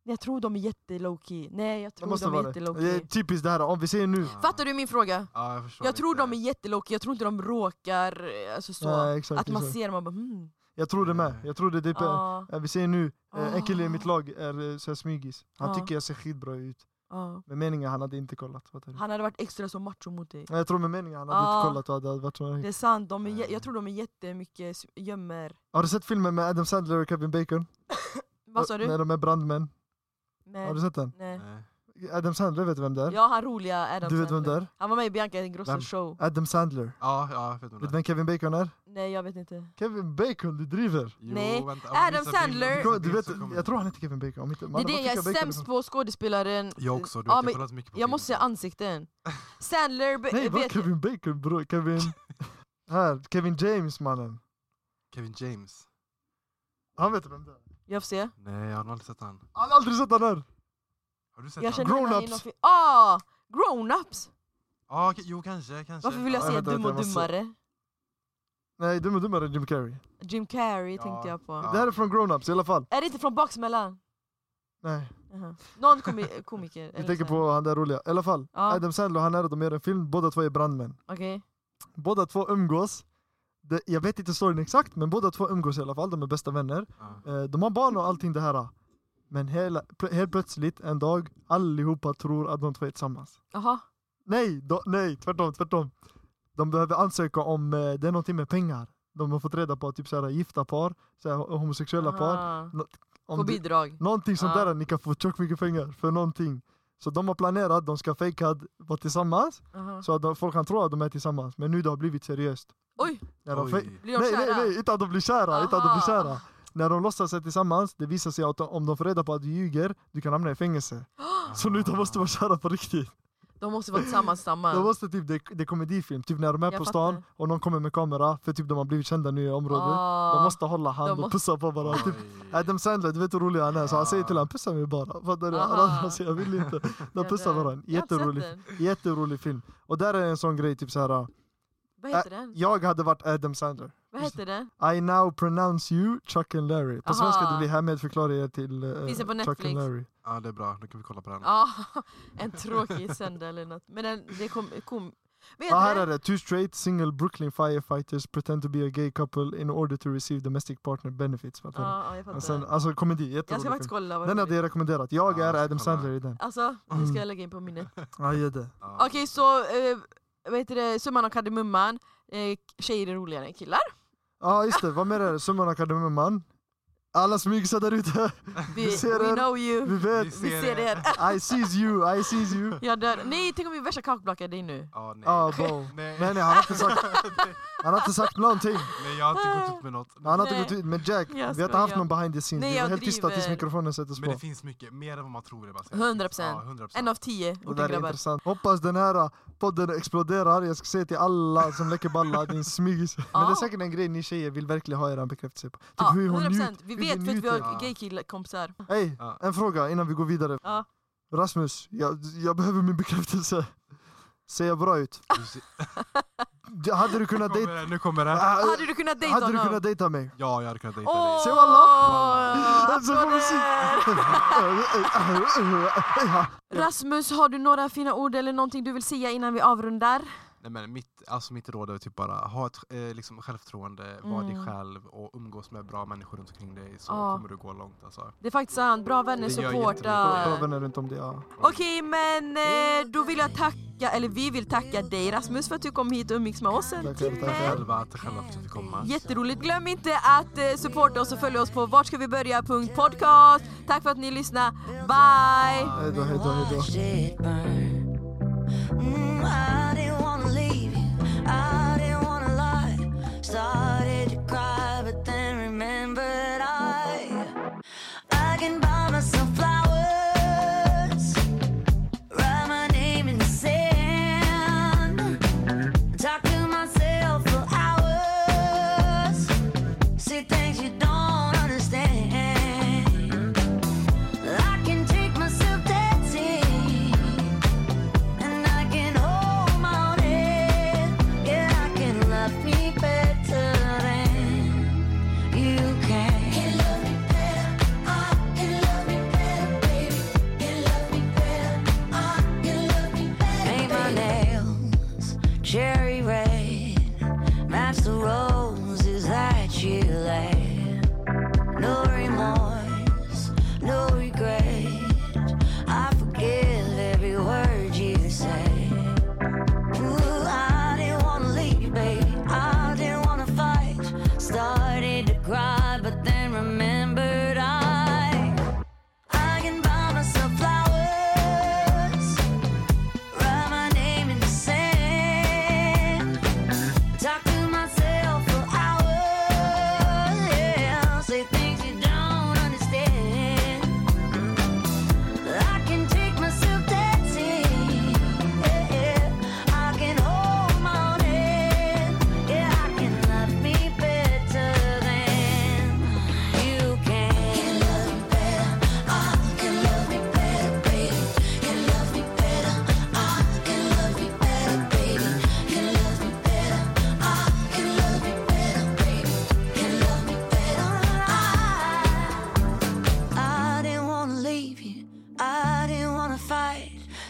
Speaker 3: Jag tror de är jätte low key. Nej jag
Speaker 2: Det
Speaker 3: tror
Speaker 2: måste
Speaker 3: de är
Speaker 2: vara
Speaker 3: jätte
Speaker 2: det.
Speaker 3: low
Speaker 2: det är
Speaker 3: key.
Speaker 2: typiskt det här, om vi ser nu.
Speaker 4: Ja.
Speaker 3: Fattar du min fråga?
Speaker 4: Ja, jag förstår
Speaker 3: Jag tror
Speaker 4: lite.
Speaker 3: de är jättelowkey, jag tror inte de råkar, eh, alltså så.
Speaker 2: Ja, exakt,
Speaker 3: att man
Speaker 2: exakt.
Speaker 3: ser dem och bara hmm.
Speaker 2: Jag tror det med, jag tror det är det
Speaker 3: Ja,
Speaker 2: Eh, Vi ser nu, eh, en kille i mitt
Speaker 3: Ah.
Speaker 2: lag är eh, så här smygis. Han
Speaker 3: Ja.
Speaker 2: tycker jag ser skitbra ut.
Speaker 3: ja.
Speaker 2: Med meningen han hade inte kollat. Fattar du?
Speaker 3: Han hade varit extra så macho mot dig.
Speaker 2: Jag tror med meningen han hade
Speaker 3: Ja.
Speaker 2: inte kollat. vad det hade varit som-
Speaker 3: Det är sant, de är, jä-
Speaker 4: Nej.
Speaker 3: jag tror de är jättemycket s- gömmer...
Speaker 2: Har du sett filmen med Adam Sandler och Kevin Bacon?
Speaker 3: Vad sa
Speaker 2: När
Speaker 3: du?
Speaker 2: de är brandmän.
Speaker 3: Nej.
Speaker 2: Har du sett den?
Speaker 3: Nej.
Speaker 4: Nej.
Speaker 2: Adam Sandler vet du vem det är?
Speaker 3: Ja, han roliga Adam
Speaker 2: du vet vem
Speaker 3: Sandler.
Speaker 2: det är?
Speaker 3: Han var med i Bianca
Speaker 4: Vem?
Speaker 3: Ingrossos show.
Speaker 2: Adam Sandler.
Speaker 4: Ja, ja, jag vet inte.
Speaker 2: Vet du vem Kevin Bacon är?
Speaker 3: Nej, jag vet inte.
Speaker 2: Kevin Bacon, du driver!
Speaker 4: Jo,
Speaker 3: Nej,
Speaker 4: vänta, om
Speaker 3: Adam
Speaker 4: vissa bilder-
Speaker 2: Du,
Speaker 3: Sandler-
Speaker 4: vissa
Speaker 2: kommer- du
Speaker 4: bilder
Speaker 2: vet,
Speaker 4: så kommer
Speaker 2: jag tror han heter Kevin Bacon. Om inte,
Speaker 3: Det är
Speaker 2: mannen,
Speaker 3: det,
Speaker 2: vad
Speaker 3: jag
Speaker 2: tycker
Speaker 3: är
Speaker 2: Bacon
Speaker 3: sämst på skådespelaren.
Speaker 4: Jag också, du
Speaker 3: Eh, Ja,
Speaker 4: vet, jag
Speaker 3: men
Speaker 4: har kollat mycket på
Speaker 3: Jag måste se
Speaker 4: filmer.
Speaker 3: ansikten. Sandler... be-
Speaker 2: Nej, vad
Speaker 3: vet,
Speaker 2: Kevin Bacon bror? Kevin... här, Kevin James mannen.
Speaker 4: Kevin James.
Speaker 2: Han vet vem det är.
Speaker 3: jag får se.
Speaker 4: Nej, jag har aldrig sett han.
Speaker 2: Han har aldrig sett han här!
Speaker 4: Har du sett
Speaker 3: Jag
Speaker 4: han?
Speaker 3: känner igen honom i
Speaker 2: Grown-ups.
Speaker 3: någon film. Ah! Grown-ups!
Speaker 4: Ja, okej, jo kanske, kanske.
Speaker 3: Varför vill jag
Speaker 2: Ja,
Speaker 3: säga
Speaker 2: vänta,
Speaker 3: Dum
Speaker 2: vänta,
Speaker 3: och
Speaker 2: jag måste-
Speaker 3: Dummare?
Speaker 2: Nej, Dum och Dummare är Jim Carrey.
Speaker 3: Jim Carrey
Speaker 4: Ja.
Speaker 3: tänkte jag på.
Speaker 4: Ja.
Speaker 2: Det här är från Grown-Ups i alla fall.
Speaker 3: Är det inte från Baksmällan?
Speaker 2: Nej,
Speaker 3: Jaha. Någon komi- komiker?
Speaker 2: vi
Speaker 3: eller
Speaker 2: tänker
Speaker 3: så.
Speaker 2: på han där roliga. I alla fall,
Speaker 3: Ja.
Speaker 2: Adam Sandler och han är de gör en film, båda två är brandmän.
Speaker 3: Okej.
Speaker 2: Båda två umgås. Det, jag vet inte storyn exakt, men båda två umgås i alla fall, de är bästa vänner.
Speaker 4: Ja.
Speaker 2: Eh, De har barn och allting det här. Men hela, pl- helt plötsligt en dag, allihopa tror att de två är tillsammans.
Speaker 3: Jaha.
Speaker 2: Nej, då- nej, tvärtom, tvärtom. De behöver ansöka om, eh, det är någonting med pengar. De har fått reda på att typ såhär, gifta par, såhär, homosexuella par.
Speaker 3: Aha. Ah, På Ah.
Speaker 2: Om det-
Speaker 3: bidrag.
Speaker 2: Någonting sånt
Speaker 3: Ja.
Speaker 2: där, ni kan få tjockt mycket pengar för någonting. Så de har planerat, de ska fejka att vara tillsammans,
Speaker 3: Aha.
Speaker 2: så att de- folk kan tro att de är tillsammans. Men nu det har blivit seriöst.
Speaker 3: Oj.
Speaker 2: När de
Speaker 4: Oj.
Speaker 2: fej-
Speaker 3: Blir de
Speaker 2: nej, nej,
Speaker 3: kära?
Speaker 2: nej, inte att de blir kära, inte att de blir
Speaker 3: Aha.
Speaker 2: kära. När de låtsas sig tillsammans, det visar sig att om de får reda på att du ljuger, du kan hamna i fängelse. Så nu de måste vara kära på riktigt.
Speaker 3: De måste vara tillsammans
Speaker 2: De
Speaker 3: tillsammans.
Speaker 2: måste typ, det, det är komedifilm, typ när de är
Speaker 3: Jag
Speaker 2: på
Speaker 3: fattar.
Speaker 2: stan och någon kommer med kamera, för typ de har blivit kända nu i området.
Speaker 3: Ah.
Speaker 2: De måste hålla hand
Speaker 3: De
Speaker 2: och
Speaker 3: måste-
Speaker 2: pussa på varandra. Typ,
Speaker 4: Oj.
Speaker 2: Adam Sandler, du vet hur rolig han är, så han
Speaker 4: Ja.
Speaker 2: säger till honom pussa mig bara. Fattar du?
Speaker 3: Aha.
Speaker 2: Han alltså, jag vill inte. De
Speaker 3: Jag
Speaker 2: pussar
Speaker 3: dör.
Speaker 2: varandra.
Speaker 3: Jag har inte
Speaker 2: Jätterolig,
Speaker 3: sett den.
Speaker 2: jätterolig film. Och där är en sån grej, typ så här.
Speaker 3: Vad heter den?
Speaker 2: jag hade varit Adam Sandler.
Speaker 3: Vad heter den?
Speaker 2: I now pronounce you Chuck and Larry. På
Speaker 3: Aha.
Speaker 2: svenska det blir härmed förklarar jag till eh,
Speaker 3: Finns det på
Speaker 2: Chuck and
Speaker 3: Netflix?
Speaker 2: Larry.
Speaker 4: Ja, det är bra. Då kan vi kolla på den.
Speaker 3: Ja, Ah, en tråkig söndag eller något. Men den, det kom... kom vet
Speaker 2: Ja, här
Speaker 3: du?
Speaker 2: är det. Two straight single Brooklyn firefighters pretend to be a gay couple in order to receive domestic partner benefits. Fattar du?
Speaker 3: Ja, ja, jag fattar.
Speaker 2: Men sen, alltså komedi,
Speaker 3: jag ska
Speaker 2: jätterolig
Speaker 3: faktiskt
Speaker 2: film.
Speaker 3: kolla. Vad
Speaker 2: Den hade jag rekommenderat. Jag
Speaker 4: Ja,
Speaker 2: är
Speaker 4: jag ska
Speaker 2: Adam
Speaker 4: kolla.
Speaker 2: Sandler i den.
Speaker 3: Alltså, det ska jag lägga in på minnet.
Speaker 2: Ja, gör det.
Speaker 4: Ja.
Speaker 3: Okej, så eh, vad heter det? summan av kardemumman. Eh, tjejer är roligare än killar.
Speaker 2: Ja just det, vad mer är det? Summan av kardemumman. Alla smygisar där ute,
Speaker 3: Vi,
Speaker 2: Vi ser
Speaker 3: we
Speaker 2: er.
Speaker 3: know you.
Speaker 2: vi vet.
Speaker 4: Vi
Speaker 3: Vi ser er.
Speaker 2: I sees you, I sees you.
Speaker 3: Jag dör. Nej, tänk om vi är värsta kakblockar dig nu.
Speaker 4: Ja, nej.
Speaker 2: Ja, bo.
Speaker 4: nej.
Speaker 2: Nej nej, han har inte sagt, han har inte sagt någonting.
Speaker 4: nej, jag har inte gått ut med något.
Speaker 2: Han har inte
Speaker 3: Nej.
Speaker 2: gått ut, men Jack, vi
Speaker 3: Jag
Speaker 2: har inte haft
Speaker 3: skojar.
Speaker 2: någon behind the scenes.
Speaker 3: Nej,
Speaker 2: vi var
Speaker 3: jag
Speaker 2: helt tysta tills
Speaker 3: driver.
Speaker 2: mikrofonen sättes
Speaker 4: Men
Speaker 2: på.
Speaker 4: det finns mycket, mer än vad man tror. Jag bara säger.
Speaker 3: 100%.
Speaker 4: Ja, 100%.
Speaker 3: En av tio
Speaker 2: Det där är
Speaker 3: ortengrabbar.
Speaker 2: intressant. Hoppas den här äh, podden exploderar. Jag ska säga till alla som läcker balla, din smygis. Men det är
Speaker 3: Ja.
Speaker 2: säkert en grej ni tjejer vill verkligen ha er bekräftelse på. Typ
Speaker 3: Ja,
Speaker 2: hur hon
Speaker 3: 100%.
Speaker 2: njut-
Speaker 3: Vi
Speaker 2: hur
Speaker 3: vet för att vi
Speaker 2: njuter.
Speaker 3: har gaykillkompisar.
Speaker 2: Hej,
Speaker 4: Ja.
Speaker 2: en fråga innan vi går vidare.
Speaker 3: Ja.
Speaker 2: Rasmus, jag, jag behöver min bekräftelse. Ser jag bra ut?
Speaker 4: Du ser-
Speaker 2: D- Hade du kunnat
Speaker 4: Nu
Speaker 2: dejta...
Speaker 4: kommer det, nu kommer det.
Speaker 2: Ah,
Speaker 3: Hade du kunnat dejta
Speaker 2: hade du
Speaker 3: honom?
Speaker 2: kunnat dejta mig?
Speaker 4: Ja, jag hade kunnat dejta
Speaker 3: Åh!
Speaker 4: dig.
Speaker 2: Se alla! Alltså, får vi se.
Speaker 3: applåder! Rasmus, har du några fina ord eller någonting du vill säga innan vi avrundar?
Speaker 4: Nej, men mitt, alltså mitt råd är typ bara ha ett eh, liksom självförtroende, var dig
Speaker 3: Mm.
Speaker 4: själv och umgås med bra människor runt omkring dig så
Speaker 3: Ja.
Speaker 4: kommer du gå långt. Alltså.
Speaker 3: Det är faktiskt sant, bra vänner eh.
Speaker 4: Det gör
Speaker 2: Bra
Speaker 4: jättemycket.
Speaker 3: supportar.
Speaker 2: vänner runt om det, ja.
Speaker 3: Okej men eh, då vill jag tacka, eller vi vill tacka dig Rasmus för att du kom hit och umgicks med oss en
Speaker 2: Tackar,
Speaker 3: timme.
Speaker 2: tackar.
Speaker 4: Själva, att själva för att vi fick komma.
Speaker 3: Jätteroligt. Glöm inte att eh, supporta oss och följa oss på vartskavibörja.podcast. Tack för att ni lyssnade. Bye!
Speaker 2: Hejdå, hejdå, hejdå.
Speaker 5: Watch it burn. Mm, I didn't wanna leave you. I didn't wanna lie. Started to cry, but then remembered I I can buy myself flowers. Write my name in the sand. Talk to myself for hours. See things you don't understand. I can take myself dancing, and I can hold uh, uh,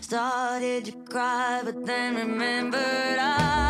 Speaker 5: Started to cry, but then remembered I. Uh-uh,